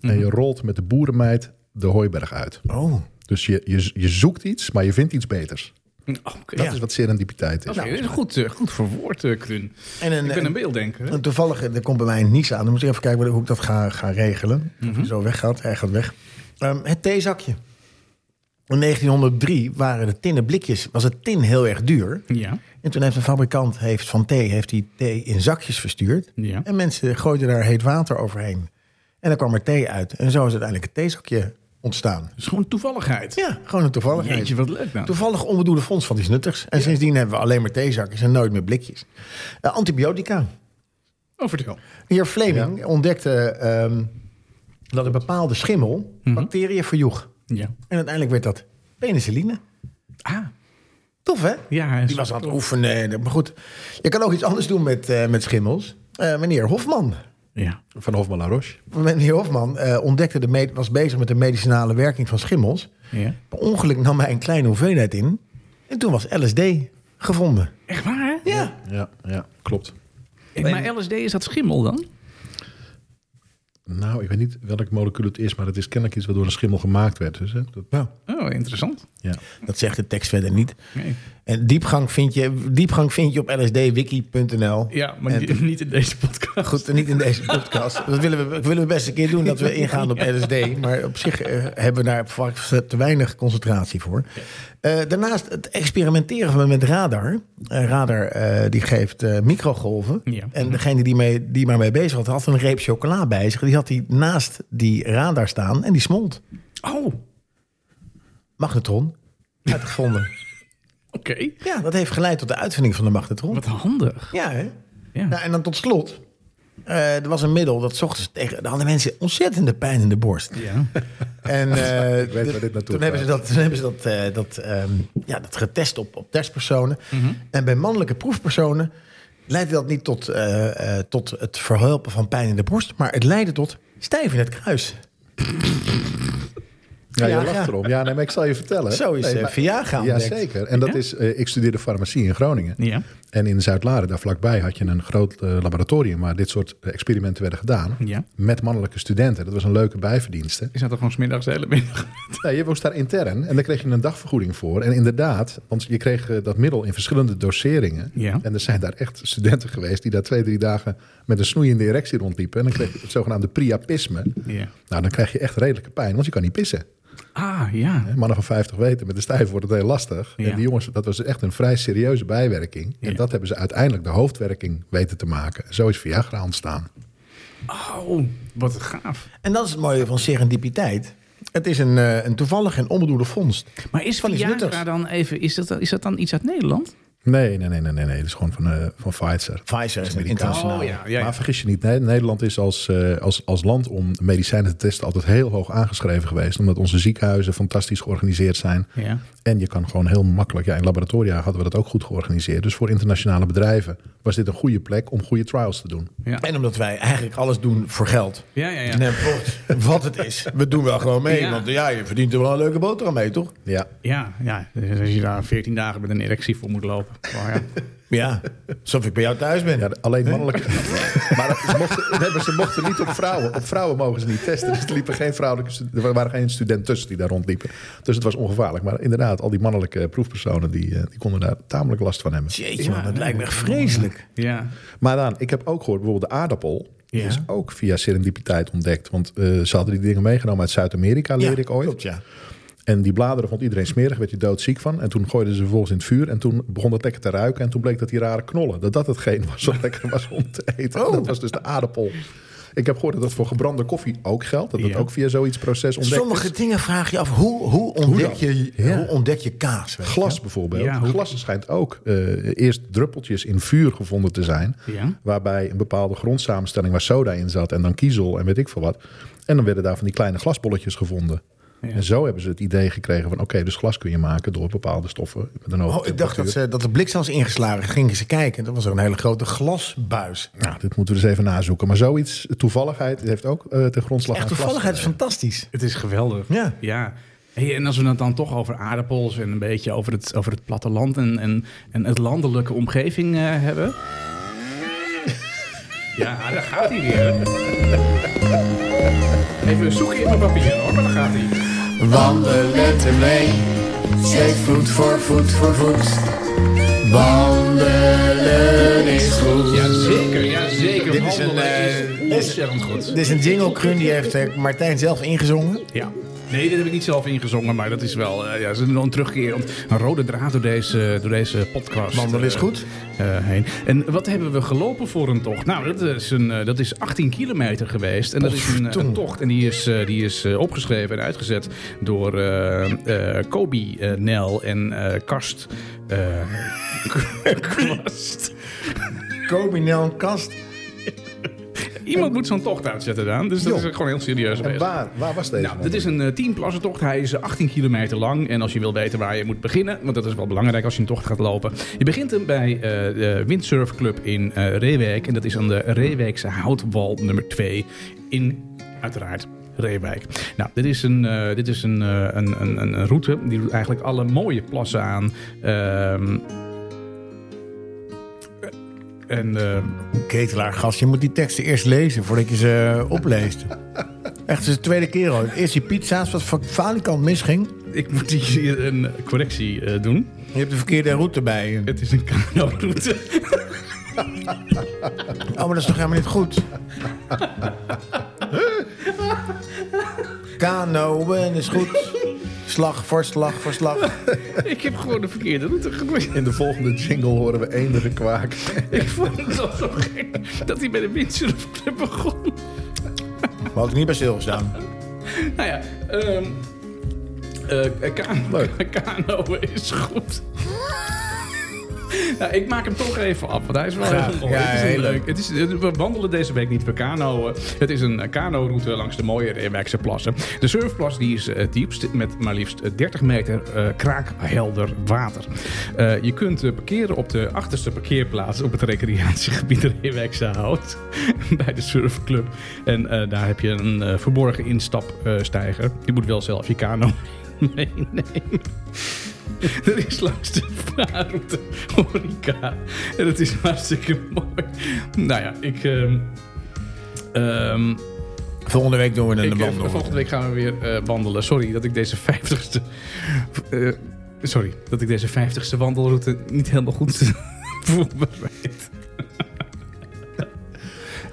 en je rolt met de boerenmeid de hooiberg uit. Oh. Dus je, je, je zoekt iets, maar je vindt iets beters. Hm, oh, Oké, Dat ja. is wat serendipiteit is. Oké, dit is goed, eh, goed verwoord, eh, Kruun. En een, Ik ben een beelddenker. hè? En toevallig, er komt bij mij een nies aan. Dan moet ik even kijken hoe ik dat ga, ga regelen. Mhm. Of hij zo weggaat, hij gaat weg. Ehm, het theezakje. In 1903 waren de tinnen blikjes, was het tin heel erg duur. Ja. En toen heeft een fabrikant heeft van thee, heeft die thee in zakjes verstuurd. Ja. En mensen gooiden daar heet water overheen. En dan kwam er thee uit. En zo is uiteindelijk het theezakje ontstaan. Het is gewoon toevalligheid. Ja, gewoon een toevalligheid. Jeetje, wat leuk nou. Toevallig onbedoelde fonds van iets nuttigs. En sindsdien hebben we alleen maar theezakjes en nooit meer blikjes. Eh, antibiotica. Oh, vertel. Heer Fleming ontdekte ehm, dat een bepaalde schimmel Mhm. bacteriën verjoeg. Ja. En uiteindelijk werd dat penicilline. Ah, Tof, hè? ja. hij is- Die was aan het oefenen. Maar goed, je kan ook iets anders doen met, eh, met schimmels. Eh, meneer Hofman. Ja. Van Hofman La Roche. Meneer Hofman eh, ontdekte de med- was bezig met de medicinale werking van schimmels. ja. Per ongeluk nam hij een kleine hoeveelheid in. En toen was LSD gevonden. Echt waar, hè? Ja. Ja, ja, klopt. Ik- Maar LSD is dat schimmel dan? Nou, ik weet niet welk molecuul het is, maar het is kennelijk iets wat door een schimmel gemaakt werd. Dus, hè, dat, Oh, interessant. ja. Dat zegt de tekst verder niet. Nee. En diepgang vind je, diepgang vind je op lsdwiki.nl. Ja, maar En- niet- niet in deze podcast. Goed, niet in deze podcast. Dat willen we, dat willen we best een keer doen, dat we ingaan op LSD. Maar op zich eh, hebben we daar vaak te weinig concentratie voor. Eh, daarnaast het experimenteren we met radar. Eh, radar eh, die geeft eh, microgolven. Ja. En degene die, mee, die maar mee bezig was, had een reep chocola bij zich. Die had hij naast die radar staan en die smolt. Oh, oké. Magnetron. Uitgevonden. ja, dat heeft geleid tot de uitvinding van de magnetron. Wat handig. Ja, hè? Ja. Nou, en dan tot slot. eh, er was een middel dat 's ochtends tegen. Dan hadden mensen ontzettende pijn in de borst. Ja. En eh, waar dus dit naartoe toen hebben ze dat, toen hebben ze dat, eh, dat, ehm, ja, dat getest op, op testpersonen. Mhm. En bij mannelijke proefpersonen leidde dat niet tot, eh, eh, tot het verhelpen van pijn in de borst, maar het leidde tot stijf in het kruis. Ja, je Ja, lacht ja. erom. Ja, nee, maar ik zal je vertellen. Zo is, nee, eh, maar- Viagra Ja, ontdekt. zeker. En dat Ja? is, eh, ik studeerde farmacie in Groningen. Ja. En in Zuid-Laren, daar vlakbij, had je een groot eh, laboratorium waar dit soort eh, experimenten werden gedaan. Ja. Met mannelijke studenten. Dat was een leuke bijverdienste. Je zat er gewoon smiddags de hele middag. Nee, je was daar intern en daar kreeg je een dagvergoeding voor. En inderdaad, want je kreeg eh, dat middel in verschillende doseringen. Ja. En er zijn daar echt studenten geweest die daar twee, drie dagen met een snoeiende erectie rondliepen. En dan kreeg je het zogenaamde priapisme. Ja. Nou, dan krijg je echt redelijke pijn, want je kan niet pissen. Ah, ja. Hè, Mannen van 50 weten, met de stijf wordt het heel lastig. Ja. En die jongens, dat was echt een vrij serieuze bijwerking. En Ja. dat hebben ze uiteindelijk de hoofdwerking weten te maken. En zo is Viagra ontstaan. Oh, wat gaaf. En dat is het mooie van serendipiteit. Het is een, eh, een toevallig en onbedoelde vondst. Maar is Van iets Viagra nuttigs. dan even, is dat, is dat dan iets uit Nederland? Nee, nee, nee, nee, nee. nee. Het is gewoon van, eh, van Pfizer. Pfizer is nou- een Amerikaans. Oh, internationaal. Maar vergis je niet, nee, Nederland is als, eh, als, als land om medicijnen te testen altijd heel hoog aangeschreven geweest. Omdat onze ziekenhuizen fantastisch georganiseerd zijn. Ja. En je kan gewoon heel makkelijk, ja, in laboratoria hadden we dat ook goed georganiseerd. Dus voor internationale bedrijven was dit een goede plek om goede trials te doen. Ja. En omdat wij eigenlijk alles doen voor geld. Ja, ja, ja. En dan wordt wat het is. We doen wel gewoon mee. Ja. Want ja, je verdient er wel een leuke boterham mee, toch? Ja, Ja, ja. Dus als je daar 14 dagen met een erectie voor moet lopen. Oh, ja. Ja, alsof ik bij jou thuis ben. Ja, alleen mannelijke. maar ze mochten, nee, maar ze mochten niet op vrouwen. Op vrouwen mogen ze niet testen. Dus er, liepen geen vrouwelijke, stu- er waren geen studenten tussen die daar rondliepen. Dus het was ongevaarlijk. Maar inderdaad, al die mannelijke proefpersonen die, eh, die konden daar tamelijk last van hebben. Jeetje man, dat lijkt me echt vreselijk. ja. Maar dan, ik heb ook gehoord, bijvoorbeeld de aardappel. Die Ja. is ook via serendipiteit ontdekt. Want eh, ze hadden die dingen meegenomen uit Zuid-Amerika, leerde ik ooit. Klopt, ja. En die bladeren vond iedereen smerig, werd je doodziek van. En toen gooiden ze vervolgens in het vuur. En toen begon dat lekker te ruiken. En toen bleek dat die rare knollen, dat dat hetgeen was wat lekker was om te eten. En Dat was dus de aardappel. Ik heb gehoord dat dat voor gebrande koffie ook geldt. Dat dat Ja. ook via zoiets proces ontdekt Sommige is. dingen vraag je af, hoe, hoe, ontdek, dan? je, Ja. hoe ontdek je kaas? weet je? Glas bijvoorbeeld. Ja, hoe- Glas schijnt ook eh, eerst druppeltjes in vuur gevonden te zijn. Ja. Waarbij een bepaalde grondsamenstelling waar soda in zat. En dan kiezel en weet ik veel wat. En dan werden daar van die kleine glasbolletjes gevonden. Ja. En zo hebben ze het idee gekregen van... oké, dus glas kun je maken door bepaalde stoffen met een hoge Oh, ik dacht dat, temperatuur. ze, dat de bliksem was ingeslagen. Gingen ze kijken. Dat was er een hele grote glasbuis. Nou, dit moeten we dus even nazoeken. Maar zoiets, toevalligheid, het heeft ook eh ten grondslag Echt aan glas toevalligheid is gelegen. fantastisch. Het is geweldig. Ja. ja. Hey, en als we het dan toch over aardappels en een beetje over het, over het platteland en, en, en het landelijke omgeving eh, hebben. Ja, ah, daar gaat hij weer. Even zoeken in mijn papier hoor, maar daar gaat hij. Wandelen mee, zet voet voor voet voor voet. Wandelen is goed. Jazeker, jazeker. Dit is een, Wandelen eh, is ontzettend goed. Dit is een jingle crun, die heeft eh, Martijn zelf ingezongen. Ja. Nee, dat heb ik niet zelf ingezongen, maar dat is wel eh, ja, dat is een, een terugkeer. want Een rode draad door deze, door deze podcast. Wandelen is eh, goed. eh, heen. En wat hebben we gelopen voor een tocht? Nou, dat is, een, eh, dat is 18 kilometer geweest. En dat is een, eh, een tocht. En die is, eh, die is eh, opgeschreven en uitgezet door eh, eh, Kobi eh, Nel en eh Karst. eh, Kwast. Kobi Nel Kast. Iemand moet zo'n tocht uitzetten dan. Dus dat Joh. is gewoon heel serieus En bezig. waar, waar was deze? Nou, man? dit is een eh, 10 plassentocht. Hij is eh, 18 kilometer lang. En als je wil weten waar je moet beginnen, want dat is wel belangrijk als je een tocht gaat lopen. Je begint hem bij eh, de Windsurf Club in eh Reewijk. En dat is aan de Reewijkse houtwal nummer 2 in, uiteraard, Reewijk. Nou, dit is, een, eh, dit is een, eh, een, een, een een route. Die doet eigenlijk alle mooie plassen aan. Ehm, en ehm, Ketelaar, gast, je moet die teksten eerst lezen voordat je ze eh, opleest. Echt, het is de tweede keer al. Eerst die pizza's, wat van Falikant misging. ik moet hier een correctie eh, doen. Je hebt de verkeerde route bij je. Het is een kano-route. Oh, maar dat is toch helemaal niet goed? Kanoën is goed. Slag voor slag voor slag. ik heb gewoon de verkeerde route gegooid. In de volgende jingle horen we eenden kwaak. Ik vond het al zo gek dat hij bij de windsurfclub begon. We hadden niet bij stilgestaan. Nou ja, ehm eh kano, Leuk. kano is goed. Nou, ik maak hem toch even af, want hij is wel heel mooi. Ja, het is een heel leuk. Het is, we wandelen deze week niet per kano. eh, Het is een eh, kano-route langs de mooie Reewijkse plassen. De surfplas die is eh, het diepst met maar liefst eh, 30 meter eh, kraakhelder water. Eh, je kunt eh, parkeren op de achterste parkeerplaats op het recreatiegebied Reewijkse Hout. bij de surfclub. En eh, daar heb je een eh, verborgen instapstijger. je moet wel zelf je kano meenemen. Er is langs de vaarroute horeca. En dat is hartstikke mooi. Nou ja, ik... ehm, ehm, Volgende week doen we ik een eh, wandeling. volgende week gaan we weer eh, wandelen. Sorry dat ik deze 50ste... eh, sorry, dat ik deze 50ste wandelroute niet helemaal goed voorbereid.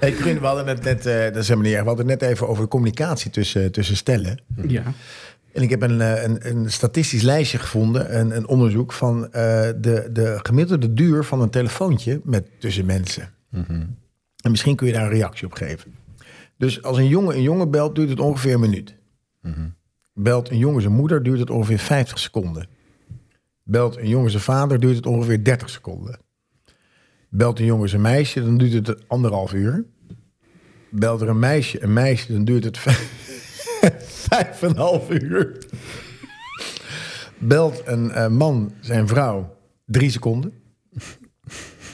Hey, Krin, we hadden het net, eh, dat is helemaal niet erg. We hadden het net even over de communicatie tussen, tussen stellen. Ja. En ik heb een, eh, een, een statistisch lijstje gevonden, een, een onderzoek van eh, de, de gemiddelde duur van een telefoontje met, tussen mensen. En misschien kun je daar een reactie op geven. Dus als een jongen een jongen belt, duurt het ongeveer een minuut. Belt een jongen zijn moeder, duurt het ongeveer 50 seconden. Belt een jongen zijn vader, duurt het ongeveer 30 seconden. Belt een jongen zijn meisje, dan duurt het anderhalf uur. Belt er een meisje een meisje, dan duurt het vijf, vijf en een half uur. Belt een eh, man zijn vrouw, drie seconden.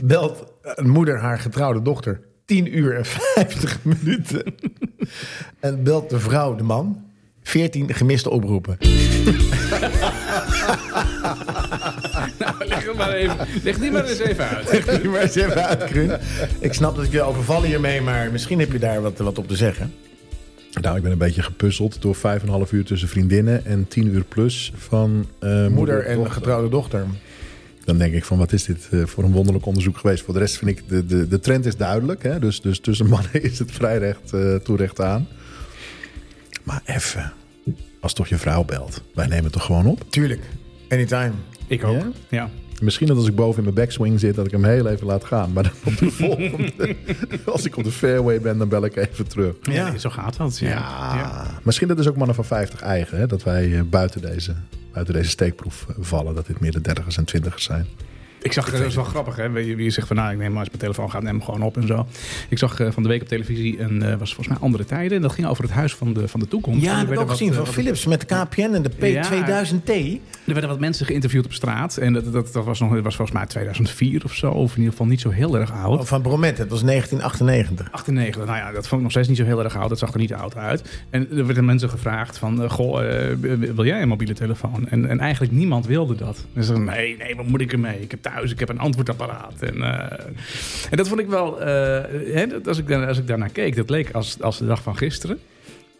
Belt een moeder haar getrouwde dochter, tien uur en vijftig minuten. En belt de vrouw de man, veertien gemiste oproepen. Leg, het maar even, leg die maar eens even uit. maar eens even uit, Kruun. Ik snap dat ik je overvallen hiermee, maar misschien heb je daar wat, wat op te zeggen. Nou, ik ben een beetje gepuzzeld door 5,5 uur tussen vriendinnen en 10 uur plus van eh, moeder, Moeder en dochter. getrouwde dochter. Dan denk ik van, wat is dit eh, voor een wonderlijk onderzoek geweest? Voor de rest vind ik, de, de, de trend is duidelijk. Hè? Dus, dus tussen mannen is het vrij recht eh toerecht aan. Maar even, als toch je vrouw belt. Wij nemen het toch gewoon op? Tuurlijk, anytime. Ik ook. Ja? ja. Misschien dat als ik boven in mijn backswing zit, dat ik hem heel even laat gaan. Maar dan op de volgende, als ik op de fairway ben, dan bel ik even terug. Ja, zo gaat dat. Ja. Ja. Ah, Misschien dat is ook mannen van 50 eigen, hè? dat wij eh, buiten, deze, buiten deze steekproef eh, vallen. Dat dit meer de 30ers en 20ers zijn. Ik zag, eh, dat is wel grappig, hè? Wie, wie zegt van nou, ik neem maar als mijn telefoon gaat, neem hem gewoon op en zo. Ik zag eh, van de week op televisie en eh, was volgens mij andere tijden. En dat ging over het huis van de, van de toekomst. En Ja, er dat heb ik werden ook wat, gezien eh, van wat- Philips met de KPN en de P2000T. Er werden wat mensen geïnterviewd op straat. En dat, dat, dat was, nog, dat was volgens mij 2004 of zo. Of in ieder geval niet zo heel erg oud. Van Bromet, dat was 1998. 98, nou ja, dat vond ik nog steeds niet zo heel erg oud. Dat zag er niet oud uit. En er werden mensen gevraagd van, eh, goh, eh, wil jij een mobiele telefoon? En, en eigenlijk niemand wilde dat. En ze zeiden, nee, nee, wat moet ik ermee? Ik heb thuis, ik heb een antwoordapparaat. En, eh, en dat vond ik wel, eh, hè, dat- als, ik, daar- als ik daarnaar keek, dat leek als, als de dag van gisteren.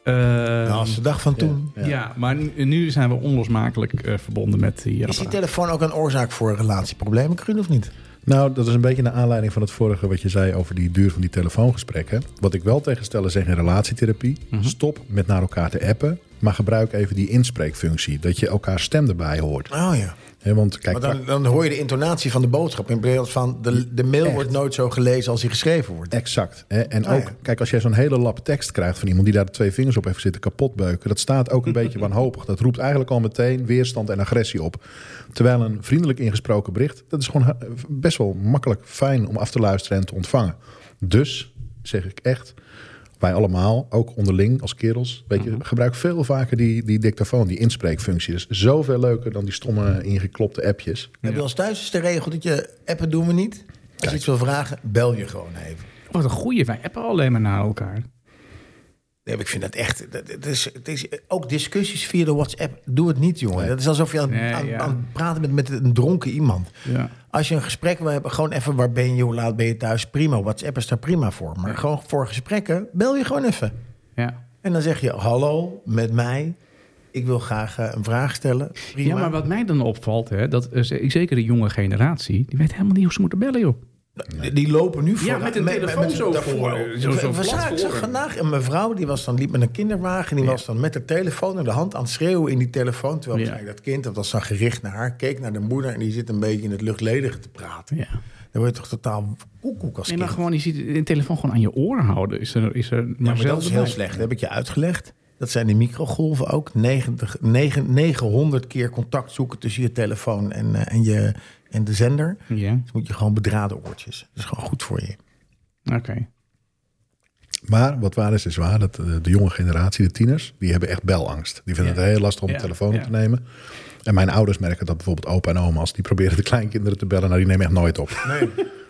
Eh, Nou, als de dag van toen. ja. maar nu, nu zijn we onlosmakelijk eh, verbonden met die Is die apparaat. telefoon ook een oorzaak voor relatieproblemen, Kruun, of niet? Nou, dat is een beetje naar aanleiding van het vorige wat je zei over die duur van die telefoongesprekken. Wat ik wel tegen stellen zeg in relatietherapie: stop met naar elkaar te appen, maar gebruik even die inspreekfunctie. Dat je elkaar stem erbij hoort. Oh ja. Hè, want kijk, Maar dan, dan hoor je de intonatie van de boodschap. In plaats van de, de mail Echt. wordt nooit zo gelezen als die geschreven wordt. Exact. Hè? En Ah, ook, ja. kijk, als jij zo'n hele lap tekst krijgt van iemand die daar de twee vingers op heeft zitten kapotbeuken, dat staat ook een beetje wanhopig. Dat roept eigenlijk al meteen weerstand en agressie op. Terwijl een vriendelijk ingesproken bericht, dat is gewoon eh, best wel makkelijk fijn om af te luisteren en te ontvangen. Dus zeg ik echt. Wij allemaal, ook onderling als kerels, weet Mhm. je, gebruik veel vaker die, die dictafoon, die inspreekfunctie. Dat is zoveel leuker dan die stomme ingeklopte appjes. Heb je als thuis is de regel dat je appen doen we niet? Als je iets wil vragen, bel je gewoon even. Wat een goeie, wij appen alleen maar naar elkaar. Nee, maar ik vind dat echt. Dat, het is, het is, ook discussies via de WhatsApp. Doe het niet, jongen. Dat is alsof je aan, Nee, aan, ja. aan het praten bent met een dronken iemand. Ja. Als je een gesprek wil hebben, gewoon even waar ben je, hoe laat ben je thuis, prima. WhatsApp is daar prima voor. Maar gewoon voor gesprekken, bel je gewoon even. Ja. En dan zeg je: Hallo, met mij. Ik wil graag eh, een vraag stellen. Prima. ja, maar wat mij dan opvalt, hè, dat is, eh, zeker de jonge generatie, die weet helemaal niet hoe ze moeten bellen, joh. Die- Die lopen nu voor. met een telefoon zo voor, eh, zo- zo'n we plat zagen- ik voor. zag vandaag een mevrouw die was dan liep met een kinderwagen. Die was dan met de telefoon in de hand aan het schreeuwen in die telefoon. Terwijl Ja. waarschijnlijk dat kind, dat was dan gericht naar haar, keek naar de moeder en die zit een beetje in het luchtledige te praten. Ja. Dan word je toch totaal koekoek als Nee, kind. maar gewoon, je ziet een telefoon gewoon aan je oor houden. Is er, is er maar, Ja, maar dat is zelden heel bij. slecht. Dat heb ik je uitgelegd. Dat zijn die microgolven ook. 90, 9, 900 keer contact zoeken tussen je telefoon en, eh, en, je, en de zender. Ja, Dus moet je gewoon bedraden oortjes. Dat is gewoon goed voor je. oké. Maar wat waar is, is waar. Dat eh, de jonge generatie, de tieners, die hebben echt belangst. Die vinden Ja. het heel lastig om Ja, de telefoon op ja. te nemen. En mijn ouders merken dat bijvoorbeeld opa en oma, als die proberen de kleinkinderen te bellen, nou die nemen echt nooit op.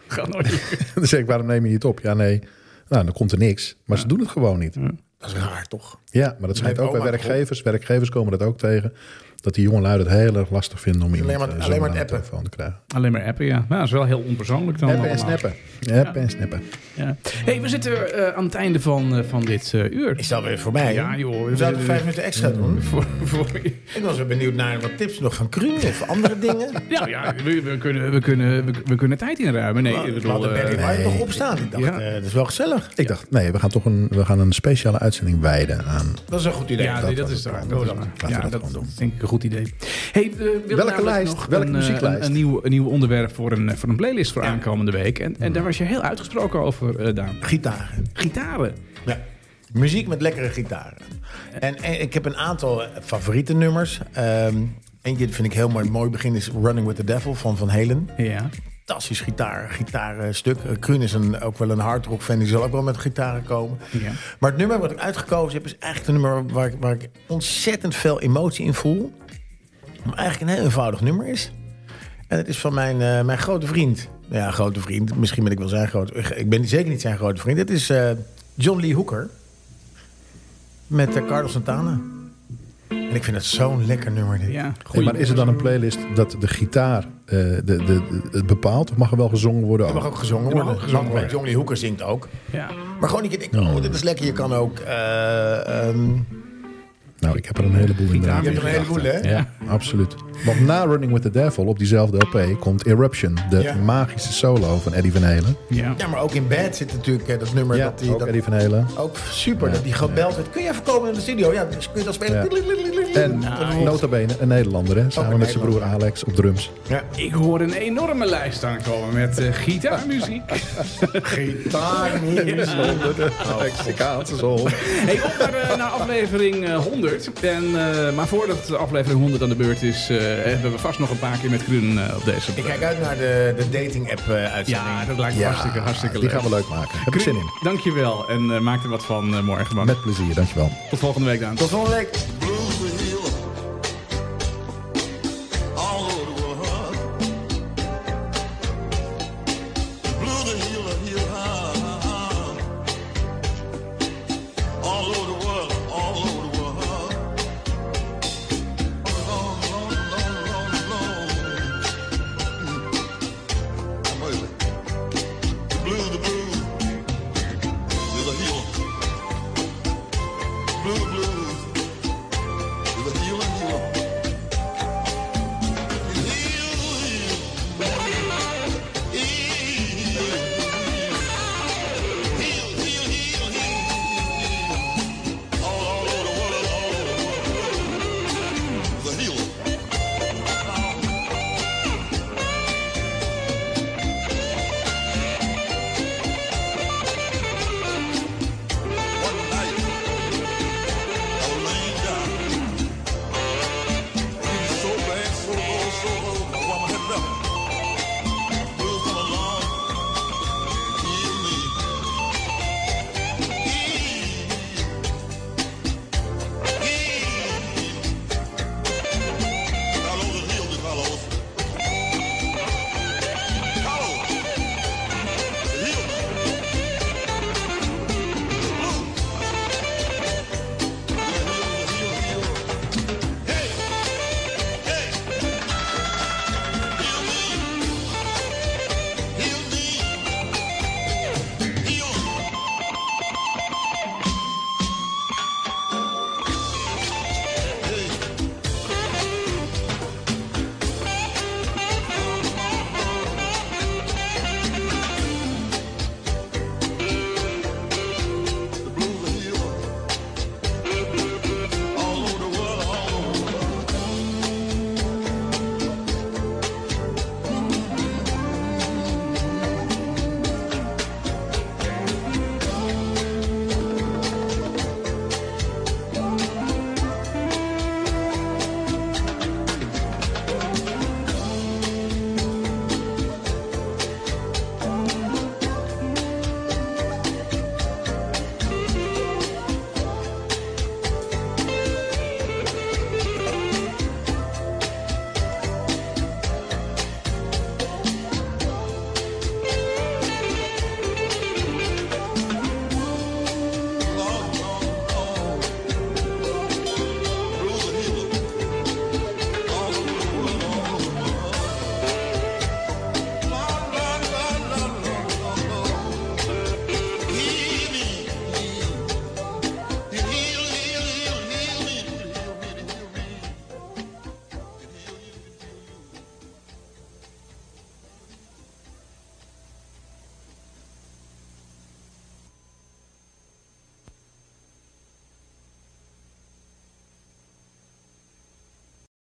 Gaat nooit. dan zeg ik, waarom neem je niet op? Ja, nee. Nou, dan komt er niks. Maar ze doen het gewoon niet. Dat is raar, toch? Ja, maar dat schijnt heeft ook bij oma werkgevers. Werkgevers komen dat ook tegen. Dat die jongelui het heel erg lastig vinden om iemand maar- eh, alleen zomaar maar aan de appen. telefoon te krijgen. Alleen maar appen, ja. Nou, dat is wel heel onpersoonlijk dan. Appen en allemaal. snappen. Appen en snappen. Ja. hey, we zitten eh, aan het einde van, eh, van dit eh, uur. Is dat weer voorbij? Ja, hè? joh. We zouden vijf minuten extra doen. Mm. Voor, voor... Ik was wel benieuwd naar wat tips nog van Kruun of andere dingen. Ja, Nou ja we, we kunnen, we, kunnen, we, we kunnen tijd inruimen. Nee, ik We bedoel, hadden eh, Bertie Wijn nog opstaan. Ik dacht, Ja. eh, dat is wel gezellig. Ik dacht, nee, we gaan toch een, we gaan een speciale uitzending wijden aan... Dat is een goed idee. Ja, dat nee, dat was is het waar. plan. Dat is Laten waar. we dat Ja, gewoon dat doen. is denk ik een goed idee. Hey, eh, we willen namelijk lijst? nog Welke een, eh, muzieklijst? Een, een nieuw, een nieuw onderwerp voor een, eh, voor een playlist voor aankomende week. En, en daar was je heel uitgesproken over, eh Daan. Gitaren. Gitaren. Ja. Muziek met lekkere gitaren. En, en ik heb een aantal eh, favoriete nummers. Ehm, eentje vind ik heel mooi. Een mooi begin is Running with the Devil van Van Halen. Ja. Fantastisch gitaar, gitaarstuk. Eh, Kruun is een, ook wel een hardrock fan. Die zal ook wel met gitaren komen. Ja. Maar het nummer wat ik uitgekozen heb... is eigenlijk een nummer waar, ik- waar ik ontzettend veel emotie in voel. Maar eigenlijk een heel eenvoudig nummer is. En het is van mijn, eh, mijn grote vriend. Ja, grote vriend. Misschien ben ik wel zijn grote... eh, Ik ben zeker niet zijn grote vriend. Het is eh, John Lee Hooker. Met eh, Carlos Santana. En ik vind het zo'n lekker nummer dit. ja. Nee, maar is er dan een playlist dat de gitaar eh, de, de, de- het bepaalt? Of mag er wel gezongen worden? Oh. Er mag ook gezongen mag worden. ook gezongen worden. John Lee Hooker zingt ook. Ja. Maar gewoon dat je denkt, oh, dit is lekker. Je kan ook... eh, ehm, Nou, ik heb er een heleboel inderdaad. je hebt er een in heleboel, hè? gedachten. Ja, absoluut. Want na Running with the Devil, op diezelfde LP, komt Eruption. De Ja. magische solo van Eddie Van Halen. Ja. Ja, maar ook in bed zit natuurlijk eh, dat nummer. dat die, ook dat, Eddie Van Halen. ook super, dat die gebeld werd. Kun je even komen in de studio? Ja, dus kun je dat spelen? En nota bene een Nederlander, hè? Nou, Ook een Samen met zijn broer Nederlander. Alex op drums. Ja, Ik hoor een enorme lijst aankomen met eh, gitaarmuziek. gitaar, Mexicaanse zon. Hey, op naar, eh, naar aflevering eh, 100. En, eh, maar voordat de aflevering 100 aan de beurt is, eh, hebben we vast nog een paar keer met Grun eh, op deze. Ik kijk uit naar de, de dating app eh, uitzending. Ja, dat lijkt me Ja, hartstikke, hartstikke Die leuk. gaan we leuk maken. Heb ik zin in. Dankjewel en eh, maak er wat van eh, morgen. Man. Met plezier, dankjewel. Tot volgende week, Daan. Tot volgende week. Blues are here all over the world. Blues are here, here, all over the world, all over the world. Long, long, long, long, long. Mm. Wait a minute. The blues, the blues is a healer. Blue, blues.